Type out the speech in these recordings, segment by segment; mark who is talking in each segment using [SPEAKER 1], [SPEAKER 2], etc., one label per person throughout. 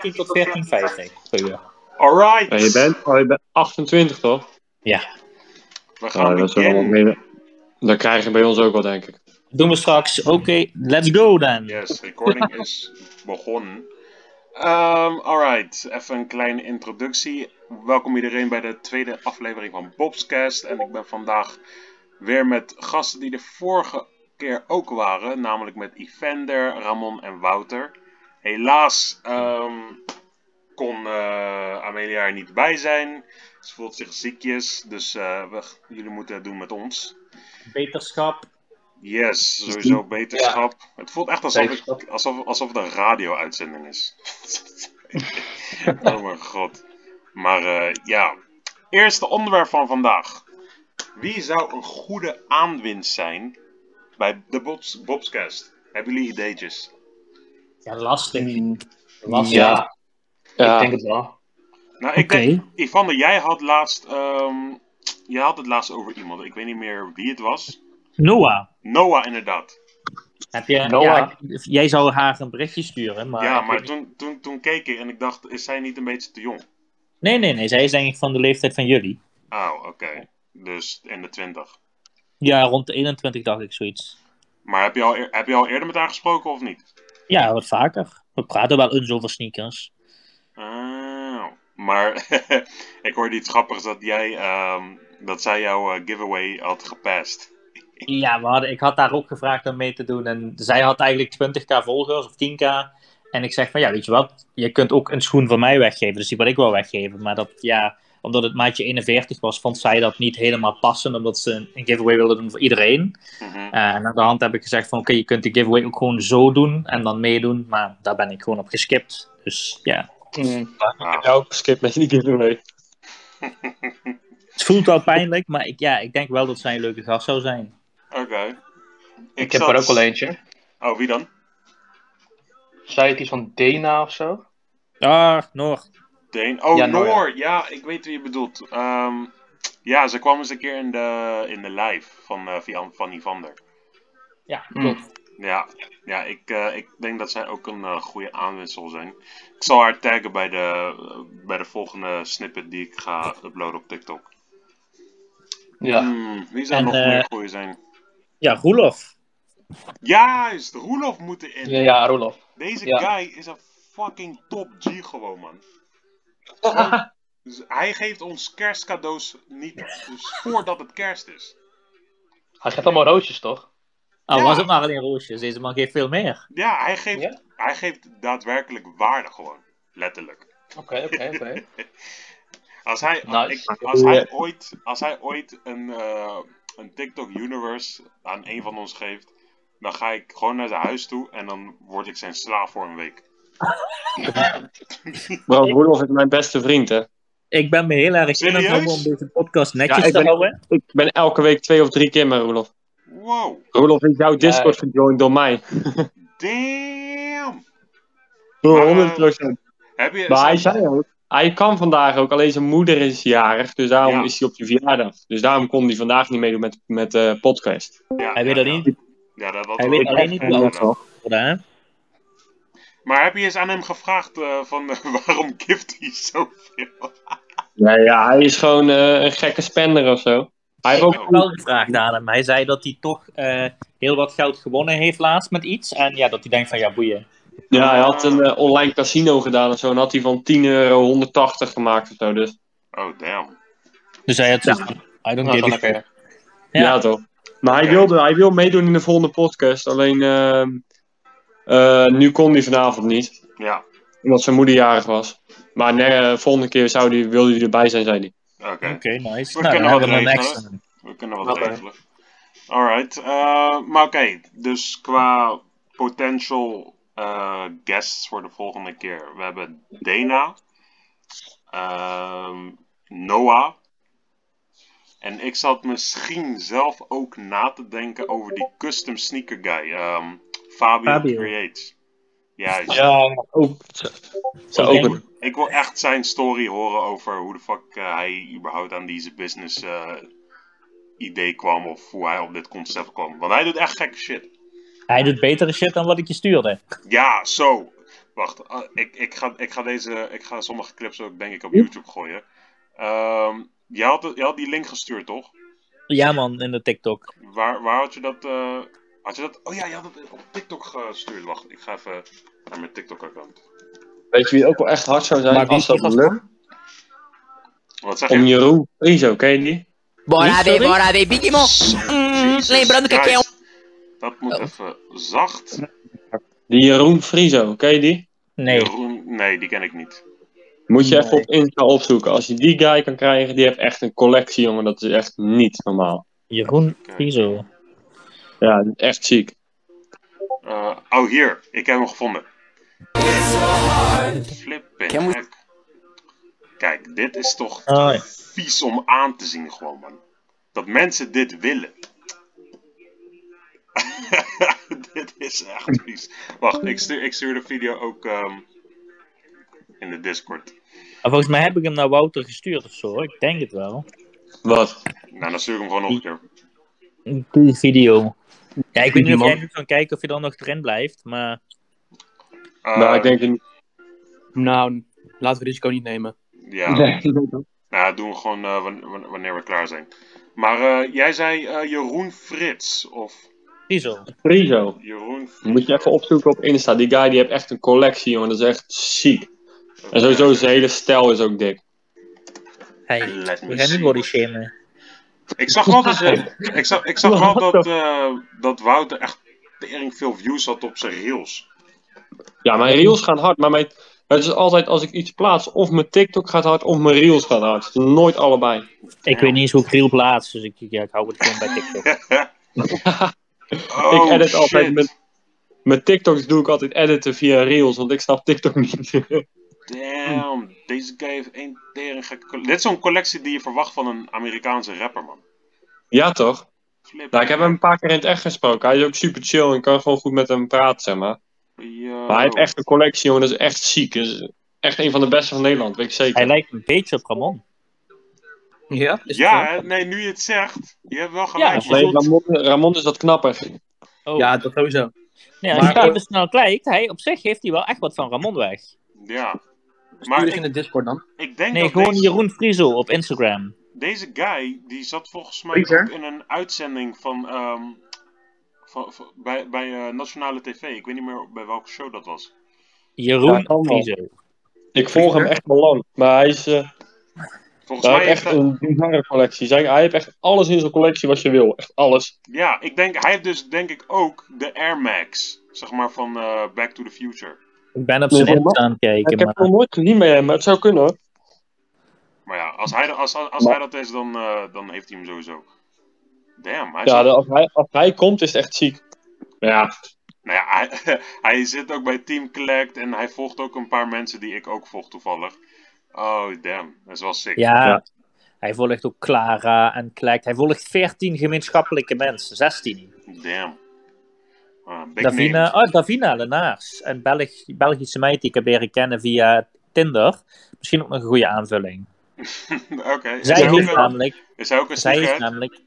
[SPEAKER 1] 14 tot 14,50 per uur.
[SPEAKER 2] Alright.
[SPEAKER 3] Ja, je, bent, oh, je bent 28 toch?
[SPEAKER 1] Ja,
[SPEAKER 2] We gaan
[SPEAKER 3] Nou, dat is wel wat
[SPEAKER 2] beginnen.
[SPEAKER 3] meer. Dat krijg je bij ons ook wel, denk ik.
[SPEAKER 1] doen we straks. Oké, let's go dan.
[SPEAKER 2] Yes, recording is begonnen. Ehm alright, even een kleine introductie. Welkom iedereen bij de tweede aflevering van Bobscast. En ik ben vandaag weer met gasten die de vorige keer ook waren. Namelijk met Evander, Ramon en Wouter. Helaas ehm, kon eh, Amelia er niet bij zijn. Ze voelt zich ziekjes, dus eh, we, jullie moeten het doen met ons.
[SPEAKER 1] Beterschap. Dus
[SPEAKER 2] Yes, sowieso beterschap. Het voelt echt alsof, ik,
[SPEAKER 1] Beterschap.
[SPEAKER 2] alsof, alsof het een radio-uitzending is. oh mijn god. Maar eh, ja, eerste onderwerp van vandaag. Wie zou een goede aanwinst zijn bij de Bobs, Bobscast? Hebben jullie ideetjes?
[SPEAKER 1] Ja, lastig.
[SPEAKER 4] Mm,
[SPEAKER 1] lastig.
[SPEAKER 4] Ja, ik
[SPEAKER 3] Ja,
[SPEAKER 4] denk het wel.
[SPEAKER 2] Nou, ik
[SPEAKER 1] Oké.
[SPEAKER 2] denk, Ivander, jij had laatst, ehm, jij had het laatst over iemand. Ik weet niet meer wie het was.
[SPEAKER 1] Noah.
[SPEAKER 2] Noah inderdaad.
[SPEAKER 1] Heb je,
[SPEAKER 4] Noah.
[SPEAKER 1] ja, jij zou haar een berichtje sturen, maar...
[SPEAKER 2] ja,
[SPEAKER 1] ik
[SPEAKER 2] maar
[SPEAKER 1] weet-
[SPEAKER 2] toen, toen, toen keek ik en ik dacht, is zij niet een beetje te jong?
[SPEAKER 1] Nee, nee, nee. Zij is denk ik van de leeftijd van jullie.
[SPEAKER 2] Oh, oké. Dus in de 20.
[SPEAKER 1] Ja, rond de 21 dacht ik zoiets.
[SPEAKER 2] Maar heb je, al, eer- heb je al eerder met haar gesproken of niet?
[SPEAKER 1] Ja, wat vaker. We praten wel eens over sneakers.
[SPEAKER 2] Oh. Maar ik hoorde iets grappigs dat jij ehm, dat zij jouw eh, giveaway had gepast.
[SPEAKER 1] Ja, we hadden, ik had daar ook gevraagd om mee te doen. En zij had eigenlijk 20k volgers of 10k. En ik zeg van, ja, weet je wat? Je kunt ook een schoen van mij weggeven. Dus die wat ik wil weggeven. Maar dat, ja, omdat het maatje 41 was, vond zij dat niet helemaal passend. Omdat ze een- een giveaway wilde doen voor iedereen.
[SPEAKER 2] Mhm.
[SPEAKER 1] Eh, en aan de hand heb ik gezegd van, oké, je kunt de giveaway ook gewoon zo doen. En dan meedoen. Maar daar ben ik gewoon op geskipt. Dus ja,
[SPEAKER 4] Mm.
[SPEAKER 2] Ah,
[SPEAKER 3] jou geskipt met die giveaway.
[SPEAKER 1] het voelt wel pijnlijk. Maar ik, ja, ik denk wel dat zij een leuke gast zou zijn.
[SPEAKER 2] Oké.
[SPEAKER 4] Ik, heb er ook al eentje.
[SPEAKER 2] Oh, wie dan?
[SPEAKER 4] Zei het iets van Dena of zo?
[SPEAKER 1] Ah, Noor.
[SPEAKER 2] Deen. Oh,
[SPEAKER 4] Ja,
[SPEAKER 2] Noor.
[SPEAKER 4] Noor,
[SPEAKER 2] Ja, ik weet wie je bedoelt. Ehm, ja, ze kwam eens een keer in de, in de live van, eh van, van Ivander.
[SPEAKER 1] Ja,
[SPEAKER 4] Mm.
[SPEAKER 1] klopt.
[SPEAKER 2] Ja, ja ik, eh, ik denk dat zij ook een eh, goede aanwinst zal zijn. Ik zal haar taggen bij de, bij de volgende snippet die ik ga uploaden op TikTok.
[SPEAKER 4] Ja.
[SPEAKER 2] Hmm, wie zou
[SPEAKER 1] En,
[SPEAKER 2] nog
[SPEAKER 1] eh,
[SPEAKER 2] meer goede zijn?
[SPEAKER 1] Ja, Roelof.
[SPEAKER 2] Juist, Roelof moet erin.
[SPEAKER 4] Ja, ja Rolof.
[SPEAKER 2] Deze
[SPEAKER 4] ja.
[SPEAKER 2] guy is een fucking top G gewoon, man. Gewoon- dus hij geeft ons kerstcadeaus niet dus voordat het kerst is.
[SPEAKER 4] Hij geeft allemaal roosjes, toch?
[SPEAKER 1] Al
[SPEAKER 2] Ja.
[SPEAKER 1] was het maar alleen roosjes, deze man geeft veel meer.
[SPEAKER 2] Ja, hij geeft,
[SPEAKER 4] Ja?
[SPEAKER 2] hij geeft daadwerkelijk waarde gewoon. Letterlijk.
[SPEAKER 4] Oké, oké,
[SPEAKER 5] Nou,
[SPEAKER 4] oké.
[SPEAKER 2] Als hij,
[SPEAKER 4] Nice.
[SPEAKER 2] ik- als hij ooit, als hij ooit een, eh, een TikTok universe aan een van ons geeft, dan ga ik gewoon naar zijn huis toe en dan word ik zijn slaaf voor een week.
[SPEAKER 3] Bro, Rudolf is mijn beste vriend, hè.
[SPEAKER 1] Ik ben me heel erg in aan het
[SPEAKER 2] Serieus?
[SPEAKER 1] houden om deze podcast netjes
[SPEAKER 3] Ja, ik
[SPEAKER 1] te
[SPEAKER 3] ben-
[SPEAKER 1] houden.
[SPEAKER 3] Ik ben elke week twee of drie keer met Rudolf.
[SPEAKER 2] Wow,
[SPEAKER 3] Rudolf is jouw Discord
[SPEAKER 4] Nee.
[SPEAKER 3] gejoined door mij.
[SPEAKER 2] damn!
[SPEAKER 3] Door
[SPEAKER 2] Maar,
[SPEAKER 3] 100 procent.
[SPEAKER 2] Heb je,
[SPEAKER 3] Maar hij zei ook, hij kan vandaag ook, alleen zijn moeder is jarig, dus daarom
[SPEAKER 2] Ja.
[SPEAKER 3] is hij op je verjaardag. Dus daarom kon hij vandaag niet meedoen met, met eh podcast.
[SPEAKER 2] ja,
[SPEAKER 1] Hij
[SPEAKER 2] ja,
[SPEAKER 1] weet dat
[SPEAKER 2] ja.
[SPEAKER 1] niet.
[SPEAKER 2] Ja, dat, dat
[SPEAKER 1] Hij weet
[SPEAKER 2] dat-
[SPEAKER 1] alleen niet hoe
[SPEAKER 2] dat-
[SPEAKER 1] oud
[SPEAKER 2] dat-
[SPEAKER 1] worden, hè?
[SPEAKER 2] Maar heb je eens aan hem gevraagd eh, van eh, waarom gift hij zoveel?
[SPEAKER 3] Ja, ja, hij is gewoon eh, een gekke spender of zo. Hij heeft
[SPEAKER 1] Ik
[SPEAKER 3] ook
[SPEAKER 1] heb wel gevraagd aan hem. Hij zei dat hij toch eh, heel wat geld gewonnen heeft laatst met iets. En ja, dat hij denkt van ja, boeien.
[SPEAKER 3] Ja, hij had een eh, online casino gedaan of zo. En had hij van 10 euro 180 gemaakt of zo. Dus
[SPEAKER 2] Oh, damn.
[SPEAKER 1] Dus hij had zoiets van, I don't
[SPEAKER 4] Nou,
[SPEAKER 1] give
[SPEAKER 4] dan
[SPEAKER 1] a
[SPEAKER 4] oké.
[SPEAKER 1] shit.
[SPEAKER 3] ja,
[SPEAKER 1] Ja.
[SPEAKER 3] toch. Maar hij,
[SPEAKER 2] Oké.
[SPEAKER 3] wilde, hij wil meedoen in de volgende podcast. Alleen ehm, eh, nu kon hij vanavond niet.
[SPEAKER 2] Ja,
[SPEAKER 3] Omdat zijn moeder jarig was. Maar nee, eh, volgende keer zou die, wilde hij erbij zijn, zei hij.
[SPEAKER 2] oké.
[SPEAKER 1] Oké, nice. nou,
[SPEAKER 2] We
[SPEAKER 1] dan
[SPEAKER 2] kunnen
[SPEAKER 1] hebben we
[SPEAKER 2] wat
[SPEAKER 1] een
[SPEAKER 2] regelen.
[SPEAKER 1] extra.
[SPEAKER 2] We kunnen wat
[SPEAKER 4] Oké.
[SPEAKER 2] regelen. Alright, eh, maar oké, dus qua potential eh, guests voor de volgende keer. We hebben Dana, ehm, Noah. En ik zat misschien zelf ook na te denken over die custom sneaker guy, ehm, Fabio,
[SPEAKER 1] Fabio.
[SPEAKER 2] Creates. Juist.
[SPEAKER 3] Ja, ook. Zou ook
[SPEAKER 1] Oké.
[SPEAKER 3] een-
[SPEAKER 2] Ik wil echt zijn story horen over hoe de fuck eh, hij überhaupt aan deze business eh, idee kwam of hoe hij op dit concept kwam. Want hij doet echt gekke shit.
[SPEAKER 1] Hij doet betere shit dan wat ik je stuurde.
[SPEAKER 2] Ja, zo. Wacht, ah, ik, ik, ga, ik, ga deze, ik ga sommige clips ook denk ik op
[SPEAKER 1] Joep.
[SPEAKER 2] YouTube gooien. Ehm je, had, je had die link gestuurd, toch?
[SPEAKER 1] Ja man, in de TikTok.
[SPEAKER 2] Waar, waar had je dat... eh, had je dat... Oh ja, je had het op TikTok gestuurd. Wacht, ik ga even naar mijn TikTok-account.
[SPEAKER 3] Weet je wie ook wel echt hard zou zijn?
[SPEAKER 1] Maar wie
[SPEAKER 3] als
[SPEAKER 1] is
[SPEAKER 3] dat
[SPEAKER 1] die
[SPEAKER 3] lukt?
[SPEAKER 2] Wat zeg
[SPEAKER 3] Om
[SPEAKER 2] je?
[SPEAKER 3] Jeroen Frizo, ken je die?
[SPEAKER 6] Bora
[SPEAKER 1] Niet,
[SPEAKER 6] ver,
[SPEAKER 1] sorry?
[SPEAKER 6] bora ver, Big Mom. Hum,
[SPEAKER 2] Jezus
[SPEAKER 6] lembrando que aqui é um.
[SPEAKER 2] Christ. Dat moet
[SPEAKER 6] Oh.
[SPEAKER 2] even zacht.
[SPEAKER 3] Die Jeroen Frizo, ken je die?
[SPEAKER 1] Nee.
[SPEAKER 2] Jeroen- nee, die ken ik niet.
[SPEAKER 3] Moet je even
[SPEAKER 1] Nee.
[SPEAKER 3] op Insta opzoeken. Als je die guy kan krijgen, die heeft echt een collectie, jongen. Dat is echt niet normaal.
[SPEAKER 1] Jeroen Frizo.
[SPEAKER 3] Ja, echt ziek.
[SPEAKER 2] Eh, oh, hier. Ik heb hem gevonden. Flipping
[SPEAKER 6] Can we-
[SPEAKER 2] heck. Kijk, dit is toch
[SPEAKER 1] Oh, ja.
[SPEAKER 2] vies om aan te zien gewoon, man. Dat mensen dit willen. dit is echt vies. Wacht, ik stuur, ik stuur de video ook ehm, in de Discord.
[SPEAKER 1] Maar volgens mij heb ik hem naar Wouter gestuurd of zo. hoor. Ik denk het wel.
[SPEAKER 3] Wat?
[SPEAKER 2] Nou, dan stuur ik hem gewoon nog een keer.
[SPEAKER 1] Die video. Ja, ik weet niet of
[SPEAKER 3] Man.
[SPEAKER 1] jij nu kan kijken of je dan nog erin blijft, maar...
[SPEAKER 2] Eh,
[SPEAKER 3] nou, ik denk... het-
[SPEAKER 5] Nou, laten we risico niet nemen.
[SPEAKER 2] Ja, Nou, dat doen we gewoon eh, wan- wan- wanneer we klaar zijn. Maar eh, jij zei eh, Jeroen Frits. Of
[SPEAKER 1] Frizo.
[SPEAKER 3] Frizo.
[SPEAKER 2] Jeroen Frits.
[SPEAKER 3] Moet je even opzoeken op Insta. Die guy die heeft echt een collectie, jongen. Dat is echt ziek. En sowieso zijn hele stijl is ook dik.
[SPEAKER 1] Hey,
[SPEAKER 2] Let
[SPEAKER 1] we
[SPEAKER 2] me
[SPEAKER 1] gaan
[SPEAKER 2] see.
[SPEAKER 1] niet body shamen.
[SPEAKER 2] Ik zag wel, dat, ik zag, ik zag wel dat, eh, dat Wouter echt tering veel views had op zijn reels.
[SPEAKER 3] Ja, mijn reels gaan hard. Maar mijn, het is altijd als ik iets plaats, of mijn TikTok gaat hard, of mijn reels gaan hard. Het is nooit allebei.
[SPEAKER 1] Ik weet niet eens hoe ik reel plaats, dus ik, ja, ik hou het gewoon bij TikTok.
[SPEAKER 2] Oh,
[SPEAKER 3] ik edit
[SPEAKER 2] shit.
[SPEAKER 3] altijd met... Mijn TikToks doe ik altijd editen via reels, want ik snap TikTok niet.
[SPEAKER 2] Damn, deze guy heeft één tering gekke... coll- Dit is zo'n collectie die je verwacht van een Amerikaanse rapper, man.
[SPEAKER 3] ja, toch?
[SPEAKER 2] Flip.
[SPEAKER 3] Nou, ik heb hem een paar keer in het echt gesproken. Hij is ook super chill en kan gewoon goed met hem praten, zeg maar.
[SPEAKER 2] Yo.
[SPEAKER 3] Maar hij heeft echt een collectie, jongen. Dat is echt ziek. Dat is echt een van de beste van Nederland, weet ik
[SPEAKER 1] Hij
[SPEAKER 3] zeker.
[SPEAKER 1] lijkt een beetje op Ramon.
[SPEAKER 5] Ja? Is
[SPEAKER 2] Ja,
[SPEAKER 5] het
[SPEAKER 2] hè? nee, nu je het zegt. Je hebt wel gelijk.
[SPEAKER 1] Ja,
[SPEAKER 3] Nee, Ramon, Ramon is dat knapper.
[SPEAKER 5] zo?
[SPEAKER 1] Oh.
[SPEAKER 5] ja, dat sowieso.
[SPEAKER 1] Nee, als je
[SPEAKER 5] Maar-
[SPEAKER 1] even snel kijkt, hij, op zich heeft hij wel echt wat van Ramon weg.
[SPEAKER 2] Ja. Maar
[SPEAKER 5] Stuur eens in
[SPEAKER 2] ik,
[SPEAKER 5] de Discord dan.
[SPEAKER 2] ik denk
[SPEAKER 1] Nee,
[SPEAKER 2] dat
[SPEAKER 1] gewoon
[SPEAKER 2] deze,
[SPEAKER 1] Jeroen Frizo op Instagram.
[SPEAKER 2] deze guy, die zat volgens mij
[SPEAKER 5] Pieter?
[SPEAKER 2] ook in een uitzending van, ehm, van, van- bij, bij eh, Nationale TV. Ik weet niet meer bij welke show dat was.
[SPEAKER 1] Jeroen
[SPEAKER 3] Ja, kan wel.
[SPEAKER 1] Frizo.
[SPEAKER 3] Ik volg hem echt al lang. Maar hij is... eh,
[SPEAKER 2] Volgens
[SPEAKER 3] Hij
[SPEAKER 2] mij eh,
[SPEAKER 3] heeft
[SPEAKER 2] heeft
[SPEAKER 3] Nou, echt
[SPEAKER 2] hij-
[SPEAKER 3] een bizarre collectie. Zijn, hij heeft echt alles in zijn collectie wat je wil. Echt alles.
[SPEAKER 2] ja, ik denk, hij heeft dus denk ik ook de Air Max, zeg maar van eh, Back to the Future.
[SPEAKER 1] Ik ben op
[SPEAKER 3] Nee,
[SPEAKER 1] zijn
[SPEAKER 3] Ramon.
[SPEAKER 1] Insta aan het
[SPEAKER 3] Ik
[SPEAKER 1] kijken,
[SPEAKER 3] heb het nog
[SPEAKER 1] maar...
[SPEAKER 3] nooit gezien bij hem, maar het zou kunnen hoor.
[SPEAKER 2] Maar ja, als hij, als, als, als hij dat is, dan, eh, dan heeft hij hem sowieso. Damn, hij
[SPEAKER 3] Ja,
[SPEAKER 2] zit,
[SPEAKER 3] de- als hij, als hij komt is het echt ziek. Ja,
[SPEAKER 2] nou ja, hij, hij zit ook bij Team Collect en hij volgt ook een paar mensen die ik ook volg toevallig. Oh, damn, dat is wel sick.
[SPEAKER 1] Ja,
[SPEAKER 3] Ja.
[SPEAKER 1] hij volgt ook Clara en Klek. Hij volgt 14 gemeenschappelijke mensen, 16.
[SPEAKER 2] Damn. Ah, big
[SPEAKER 1] Davina, oh, Davina Lenaars, een Belg, Belgische meid die ik heb leren kennen via Tinder. Misschien ook nog een goede aanvulling.
[SPEAKER 2] name. Oké. Is
[SPEAKER 1] Zij
[SPEAKER 2] hij ook
[SPEAKER 1] heeft
[SPEAKER 2] een-
[SPEAKER 1] namelijk,
[SPEAKER 2] Is hij ook een
[SPEAKER 1] zij heeft
[SPEAKER 2] sneakerhead?
[SPEAKER 1] namelijk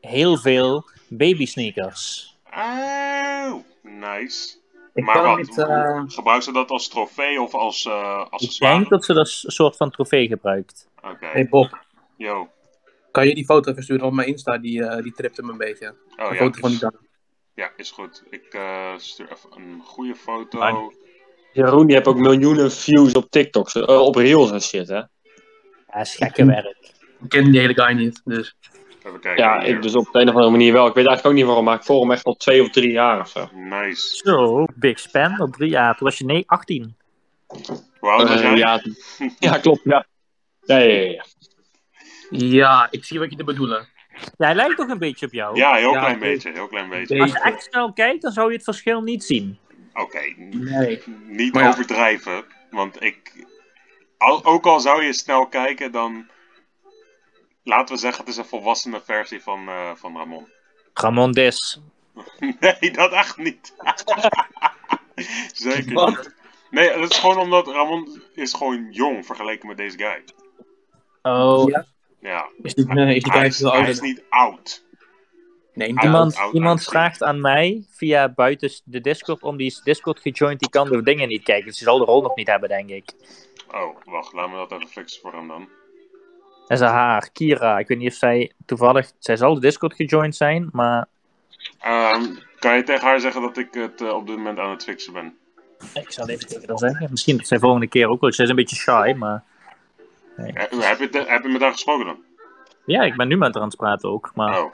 [SPEAKER 1] heel veel baby sneakers.
[SPEAKER 2] Auw, Oh, nice.
[SPEAKER 5] Ik
[SPEAKER 2] maar
[SPEAKER 5] kan
[SPEAKER 2] wat?
[SPEAKER 5] niet, eh,
[SPEAKER 2] Gebruikt ze dat als trofee of als eh
[SPEAKER 1] Ik
[SPEAKER 2] accessoire?
[SPEAKER 1] denk dat ze dat s- soort van trofee gebruikt.
[SPEAKER 2] Oké,
[SPEAKER 5] Hey Bob,
[SPEAKER 2] yo. Oh,
[SPEAKER 5] kan je die foto versturen op mijn Insta? Die, eh die tript hem een beetje. Een
[SPEAKER 2] Oh ja,
[SPEAKER 5] foto van
[SPEAKER 2] is,
[SPEAKER 5] die dan.
[SPEAKER 2] ja, is goed. Ik eh, stuur even een goede foto.
[SPEAKER 3] Maar- Jeroen die heeft ook miljoenen views op TikTok, eh, op reels en shit hè.
[SPEAKER 1] Ja, is gekke werk.
[SPEAKER 5] Ik ken die hele guy niet, dus...
[SPEAKER 2] Even kijken.
[SPEAKER 3] Ja,
[SPEAKER 2] hier.
[SPEAKER 3] ik- dus op de een of andere manier wel. Ik weet eigenlijk ook niet waarom, maar ik volg hem echt al twee of drie jaar of
[SPEAKER 2] Oh,
[SPEAKER 3] zo.
[SPEAKER 2] Nice.
[SPEAKER 1] Zo, Big Span op drie jaar. Toen was je nee, 18.
[SPEAKER 2] Hoe oud was
[SPEAKER 3] Eh,
[SPEAKER 2] jij?
[SPEAKER 3] ja, ja, klopt, ja. Ja, ja, ja, ja.
[SPEAKER 5] Ja, ik zie wat je te bedoelen.
[SPEAKER 1] Ja, hij lijkt toch een beetje op jou?
[SPEAKER 2] Ja, heel
[SPEAKER 5] Ja,
[SPEAKER 2] klein
[SPEAKER 5] oké.
[SPEAKER 2] beetje. Heel klein beetje.
[SPEAKER 1] Als je echt snel kijkt, dan zou je het verschil niet zien.
[SPEAKER 2] Oké,
[SPEAKER 5] Nee.
[SPEAKER 2] niet
[SPEAKER 5] Maar ja.
[SPEAKER 2] overdrijven. Want ik. Al, ook al zou je snel kijken, dan. Laten we zeggen, het is een volwassene versie van, eh, van Ramon.
[SPEAKER 1] Ramon Des.
[SPEAKER 2] Nee, dat echt niet. Zeker
[SPEAKER 5] Wat?
[SPEAKER 2] niet. Nee, dat is gewoon omdat Ramon is gewoon jong vergeleken met deze guy.
[SPEAKER 1] Oh,
[SPEAKER 5] Ja.
[SPEAKER 2] Ja,
[SPEAKER 5] Oh, Is die, nee, is die guy
[SPEAKER 2] hij is,
[SPEAKER 5] veel
[SPEAKER 2] hij is
[SPEAKER 5] ouder?
[SPEAKER 2] niet oud.
[SPEAKER 5] Nee,
[SPEAKER 2] Oud,
[SPEAKER 1] Iemand,
[SPEAKER 2] oud,
[SPEAKER 1] iemand
[SPEAKER 2] oud.
[SPEAKER 1] vraagt aan mij via buiten de Discord om die is Discord gejoind. Die kan de dingen niet kijken. Dus die zal de rol nog niet hebben, denk ik.
[SPEAKER 2] Oh, wacht, laten we dat even fixen voor hem dan.
[SPEAKER 1] Dat is haar, Kira. Ik weet niet of zij toevallig. Zij zal de Discord gejoind zijn, maar
[SPEAKER 2] Ehm, kan je tegen haar zeggen dat ik het eh, op dit moment aan het fixen ben?
[SPEAKER 1] ik zal even tegen haar zeggen. Misschien dat zij volgende keer ook wel. Zij is een beetje shy, maar.
[SPEAKER 2] Eh, heb, je, te- heb je met haar gesproken dan?
[SPEAKER 1] Ja, ik ben nu met haar aan het praten ook. Maar
[SPEAKER 2] Oh.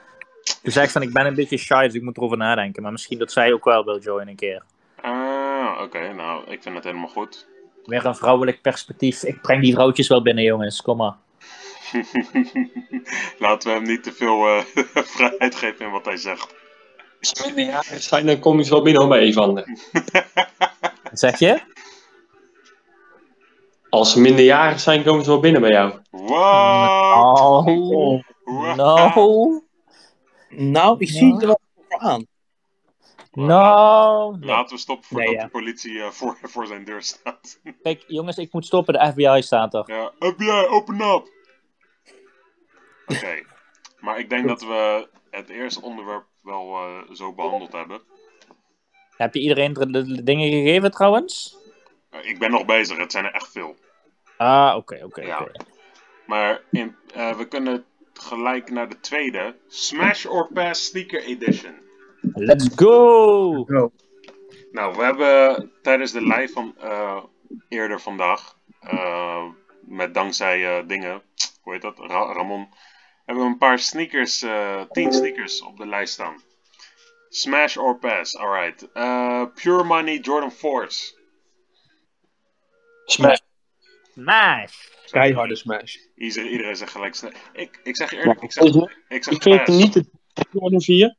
[SPEAKER 1] ze zegt van ik ben een beetje shy, dus ik moet erover nadenken. Maar misschien dat zij ook wel wil joinen een keer.
[SPEAKER 2] Ah, oké, nou, ik vind het helemaal goed.
[SPEAKER 1] Weer een vrouwelijk perspectief. Ik breng die vrouwtjes wel binnen, jongens. Kom maar.
[SPEAKER 2] Laten we hem niet te veel eh, vrijheid geven in wat hij zegt.
[SPEAKER 3] Als ze minderjarig zijn, eh, dan kom je zo binnen bij Evander.
[SPEAKER 1] Wat zeg je?
[SPEAKER 3] Als ze minderjarig zijn, komen ze wel binnen bij jou.
[SPEAKER 2] Wow!
[SPEAKER 1] Oh,
[SPEAKER 2] Wow.
[SPEAKER 1] no.
[SPEAKER 5] Nou, ik zie het er wel voor aan.
[SPEAKER 1] No. Nee.
[SPEAKER 2] Laten we stoppen voordat
[SPEAKER 1] Nee, ja.
[SPEAKER 2] de politie eh, voor, voor zijn deur staat.
[SPEAKER 1] Kijk, jongens, ik moet stoppen. De FBI staat er.
[SPEAKER 2] Ja, FBI, open up! Oké, maar ik denk dat we het eerste onderwerp wel eh, zo behandeld hebben.
[SPEAKER 1] Heb je iedereen de, de- de dingen gegeven trouwens?
[SPEAKER 2] Eh, ik ben nog bezig, het zijn er echt veel.
[SPEAKER 1] Ah, oké, oké.
[SPEAKER 2] Ja.
[SPEAKER 1] oké.
[SPEAKER 2] Maar in, eh, we kunnen gelijk naar de tweede. Smash or Pass Sneaker Edition.
[SPEAKER 1] Let's go!
[SPEAKER 5] Bro,
[SPEAKER 2] Nou, we hebben tijdens de live van eh, eerder vandaag, eh, met dankzij eh, dingen, hoe heet dat, Ra- Ramon, hebben we een paar sneakers, eh, tien sneakers op de lijst staan. Smash or pass, alright. Eh, Pure Money Jordan Force.
[SPEAKER 3] Smash.
[SPEAKER 1] Nice!
[SPEAKER 5] keiharde smash.
[SPEAKER 2] Iedereen, iedereen zegt gelijk sne- Ik, ik zeg je eerlijk, ik zeg,
[SPEAKER 3] is het-
[SPEAKER 2] ik zeg
[SPEAKER 3] Ik vind het
[SPEAKER 2] pass.
[SPEAKER 3] niet de Jordan 4.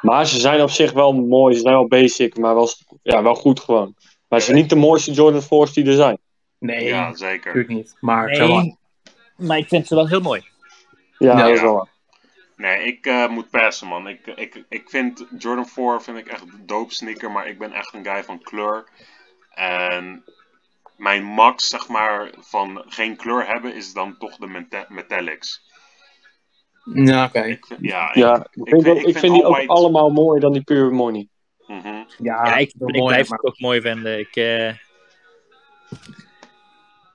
[SPEAKER 3] Maar ze zijn op zich wel mooi. Ze zijn wel basic, maar wel, ja, wel goed gewoon. Maar ze zijn niet de mooiste Jordan 4's die er zijn.
[SPEAKER 5] Nee,
[SPEAKER 2] Ja, zeker.
[SPEAKER 5] natuurlijk niet. Maar zeg maar.
[SPEAKER 1] Nee, maar ik vind ze wel heel mooi.
[SPEAKER 3] Ja,
[SPEAKER 5] Ja.
[SPEAKER 3] dat is wel waar.
[SPEAKER 2] Nee, ik eh, moet passen, man. Ik, eh, ik, ik vind Jordan 4 vind ik echt een dope sneaker, maar ik ben echt een guy van kleur. En mijn max, zeg maar, van geen kleur hebben is dan toch de meta- metallics.
[SPEAKER 5] Ja, oké.
[SPEAKER 2] Ik vind- ja, ik-
[SPEAKER 3] Ja, ik, vind,
[SPEAKER 2] vind-
[SPEAKER 3] dat-
[SPEAKER 2] ik
[SPEAKER 3] ik
[SPEAKER 2] vind
[SPEAKER 3] vind die ook
[SPEAKER 2] all-white-
[SPEAKER 3] allemaal mooier dan die Pure Money.
[SPEAKER 2] mhm.
[SPEAKER 5] Ja,
[SPEAKER 1] Ja, ik,
[SPEAKER 5] wel
[SPEAKER 1] ik
[SPEAKER 5] mooi,
[SPEAKER 1] blijf
[SPEAKER 5] maar-
[SPEAKER 1] het ook mooi vinden. Ik, eh,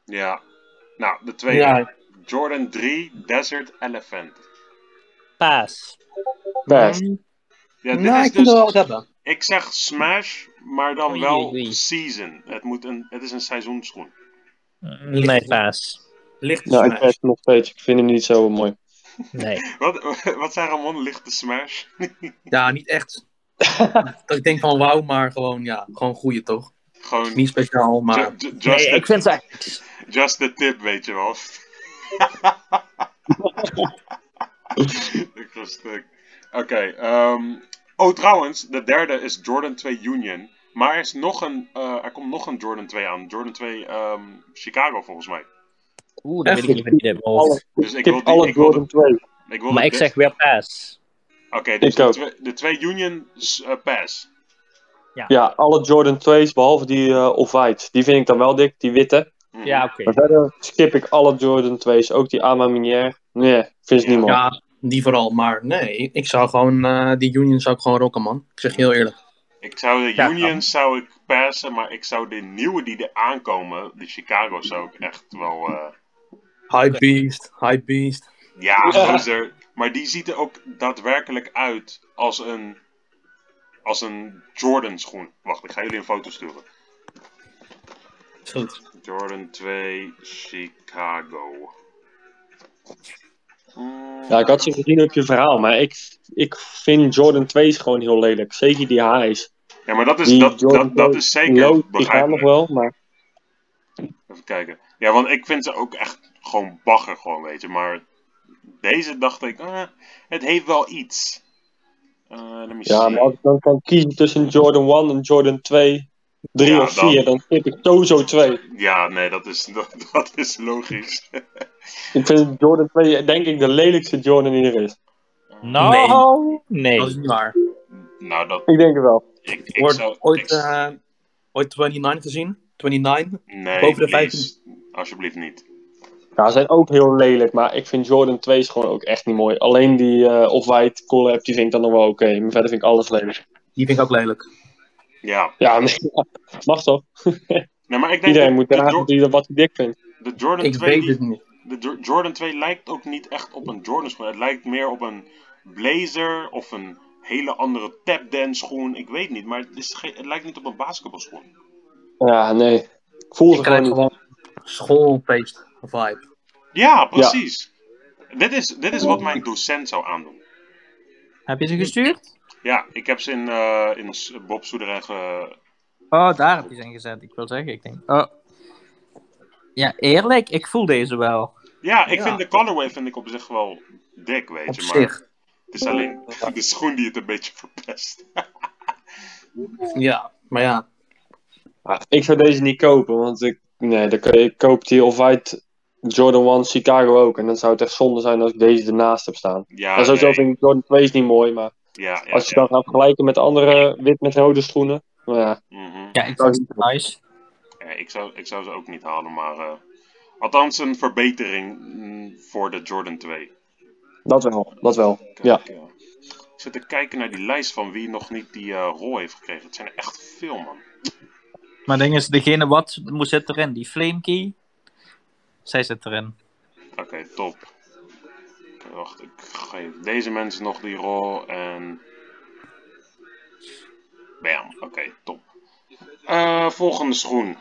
[SPEAKER 2] ja. Nou, de tweede.
[SPEAKER 5] Ja,
[SPEAKER 2] Jordan 3 Desert Elephant.
[SPEAKER 1] paas.
[SPEAKER 3] Best.
[SPEAKER 2] Ja, dit
[SPEAKER 5] nou,
[SPEAKER 2] is
[SPEAKER 5] ik vind het wel wat
[SPEAKER 2] dus,
[SPEAKER 5] hebben.
[SPEAKER 2] ik zeg Smash, maar dan
[SPEAKER 1] Oei,
[SPEAKER 2] wel
[SPEAKER 1] oei.
[SPEAKER 2] season. Het, moet een, het is een seizoenschoen.
[SPEAKER 1] Nee, paas.
[SPEAKER 5] Lichte
[SPEAKER 3] Ja, ik
[SPEAKER 5] smash.
[SPEAKER 3] vind het nog steeds. Ik vind hem niet zo mooi.
[SPEAKER 1] Nee.
[SPEAKER 2] Wat, wat zei Ramon? Lichte Smash?
[SPEAKER 5] Ja, niet echt. dat ik denk van wauw, maar gewoon, ja, gewoon goeie toch?
[SPEAKER 2] Gewoon
[SPEAKER 5] Niet speciaal, maar...
[SPEAKER 2] ju- ju- just,
[SPEAKER 1] nee
[SPEAKER 2] the-
[SPEAKER 1] ik vind ze echt...
[SPEAKER 2] Just the tip, weet je wel. Ik ga stuk. Oké, ehm, oh trouwens, de derde is Jordan 2 Union. Maar er, is nog een, eh, er komt nog een Jordan 2 aan. Jordan 2 ehm, Chicago volgens mij.
[SPEAKER 1] Oeh, dat
[SPEAKER 5] Echt?
[SPEAKER 1] weet ik niet meer niet
[SPEAKER 3] Alle,
[SPEAKER 2] Dus ik
[SPEAKER 3] ik
[SPEAKER 2] wil die-
[SPEAKER 3] tip alle
[SPEAKER 2] ik wil
[SPEAKER 3] Jordan 2.
[SPEAKER 2] Ik wil
[SPEAKER 1] Maar
[SPEAKER 2] dat
[SPEAKER 1] ik
[SPEAKER 2] dit-
[SPEAKER 1] zeg weer paas.
[SPEAKER 2] Oké, dus
[SPEAKER 3] Ik
[SPEAKER 2] de,
[SPEAKER 3] ook.
[SPEAKER 2] twee, de twee Union s- eh, pass.
[SPEAKER 3] Ja, alle Jordan 2's, behalve die eh, off-white. Die vind ik dan wel dik, die witte.
[SPEAKER 2] Mhm.
[SPEAKER 1] Ja, oké.
[SPEAKER 3] Maar verder skip ik alle Jordan 2's. Ook die Ama Minière. Nee, ik vind ze niet mooi.
[SPEAKER 5] Ja, die vooral. Maar nee, ik zou gewoon... eh, die Union zou ik gewoon rocken, man. Ik zeg je heel eerlijk.
[SPEAKER 2] Ik zou de
[SPEAKER 1] Ja,
[SPEAKER 2] Unions zou ik passen, maar ik zou de nieuwe die er aankomen, de Chicago, zou ik echt wel... eh,
[SPEAKER 5] High beast, high beast.
[SPEAKER 2] Ja,
[SPEAKER 3] Ja.
[SPEAKER 2] loser. Maar die ziet er ook daadwerkelijk uit als een, als een Jordan schoen. Wacht, ik ga jullie een foto sturen.
[SPEAKER 5] Is goed.
[SPEAKER 2] Jordan 2 Chicago. Mm,
[SPEAKER 3] Ja, ik had ze gezien op je verhaal, maar ik, ik vind Jordan 2's gewoon heel lelijk. Zeker die highs.
[SPEAKER 2] ja, maar dat is,
[SPEAKER 3] die
[SPEAKER 2] dat, dat,
[SPEAKER 3] Jordan
[SPEAKER 2] dat is
[SPEAKER 3] Low,
[SPEAKER 2] zeker
[SPEAKER 3] die gaan nog
[SPEAKER 2] begrijpelijk.
[SPEAKER 3] wel, maar
[SPEAKER 2] Even kijken. Ja, want ik vind ze ook echt gewoon bagger, gewoon, weet je. Maar deze dacht ik, ah, het heeft wel iets. Eh let me
[SPEAKER 3] ja,
[SPEAKER 2] see.
[SPEAKER 3] maar als ik dan kan kiezen tussen Jordan 1 en Jordan 2, 3
[SPEAKER 2] Ja,
[SPEAKER 3] of
[SPEAKER 2] dan-
[SPEAKER 3] 4, dan skip ik sowieso 2.
[SPEAKER 2] Ja, nee, dat is, dat, dat is logisch.
[SPEAKER 3] Ik vind Jordan 2 denk ik de lelijkste Jordan die er is.
[SPEAKER 1] Nou, nee.
[SPEAKER 5] Dat is niet waar.
[SPEAKER 2] Nou, dat,
[SPEAKER 3] Ik denk het wel.
[SPEAKER 2] ik, ik
[SPEAKER 5] Ooit,
[SPEAKER 2] zou... ik-
[SPEAKER 5] ooit, eh, ooit 29 gezien? 29?
[SPEAKER 2] Nee,
[SPEAKER 5] Boven de
[SPEAKER 2] please. Alsjeblieft niet.
[SPEAKER 3] Ja, ze zijn ook heel lelijk, maar ik vind Jordan 2's gewoon ook echt niet mooi. Alleen die eh off-white collab, die vind ik dan nog wel oké. Maar verder vind ik alles lelijk.
[SPEAKER 5] Die vind ik ook lelijk.
[SPEAKER 2] Ja.
[SPEAKER 3] Ja, nee, mag toch?
[SPEAKER 2] Nee, maar ik denk
[SPEAKER 3] Iedereen moet
[SPEAKER 2] de,
[SPEAKER 3] dragen
[SPEAKER 2] Jo-
[SPEAKER 3] die, wat hij dik vindt.
[SPEAKER 2] de Jordan
[SPEAKER 5] Ik
[SPEAKER 2] 2
[SPEAKER 5] weet
[SPEAKER 2] die-
[SPEAKER 5] het niet.
[SPEAKER 2] de Jo- Jordan 2 lijkt ook niet echt op een Jordan schoen. Het lijkt meer op een blazer of een hele andere tapdance schoen. Ik weet niet, maar het, is geen- het lijkt niet op een basketbalschoen.
[SPEAKER 3] Ja, nee. Ik voel
[SPEAKER 5] Ik
[SPEAKER 3] ze gewoon
[SPEAKER 5] krijg
[SPEAKER 3] niet.
[SPEAKER 5] gewoon schoolfeest vibe.
[SPEAKER 2] Ja, precies. Dit, is, dit is wat mijn docent zou aandoen.
[SPEAKER 1] Heb je ze gestuurd?
[SPEAKER 2] Ja, ik heb ze in, eh in s- Bob eh, Soederij ge...
[SPEAKER 1] Oh, daar heb je ze in gezet. Ik wil zeggen, ik denk... Oh. Ja, eerlijk, ik voel deze wel.
[SPEAKER 2] Ja, ik
[SPEAKER 5] Ja.
[SPEAKER 2] vind de colorway vind ik op zich wel dik, weet
[SPEAKER 5] Op
[SPEAKER 2] je. Maar
[SPEAKER 5] zich.
[SPEAKER 2] het is alleen de schoen die het een beetje verpest.
[SPEAKER 5] Ja, maar ja.
[SPEAKER 3] Ah, ik zou deze niet kopen, want ik, nee, dan, kun je- ik koop die off-white Jordan 1 Chicago ook. En dan zou het echt zonde zijn als ik deze ernaast heb staan.
[SPEAKER 2] Ja,
[SPEAKER 3] En sowieso
[SPEAKER 2] Ah, nee.
[SPEAKER 3] vind ik Jordan 2's niet mooi, maar
[SPEAKER 2] ja, ja,
[SPEAKER 3] als je
[SPEAKER 2] ja.
[SPEAKER 3] dan gaat vergelijken met de andere wit met rode schoenen. Nou ja,
[SPEAKER 2] Mhm.
[SPEAKER 1] Ja, ik vind ze nice.
[SPEAKER 2] Ja, ik, zou, ik zou ze ook niet halen, maar. eh, althans, een verbetering mm, voor de Jordan 2.
[SPEAKER 3] dat wel, dat wel.
[SPEAKER 2] Kijk,
[SPEAKER 3] Ja.
[SPEAKER 2] eh, ik zit te kijken naar die lijst van wie nog niet die eh, rol heeft gekregen. Het zijn er echt veel, man.
[SPEAKER 1] Maar ding is, degene wat moet zit erin? Die flamekey? Zij zit erin.
[SPEAKER 2] Oké, top. Oké, wacht, ik geef deze mensen nog die rol en. Bam, oké, top. Eh, volgende schoen.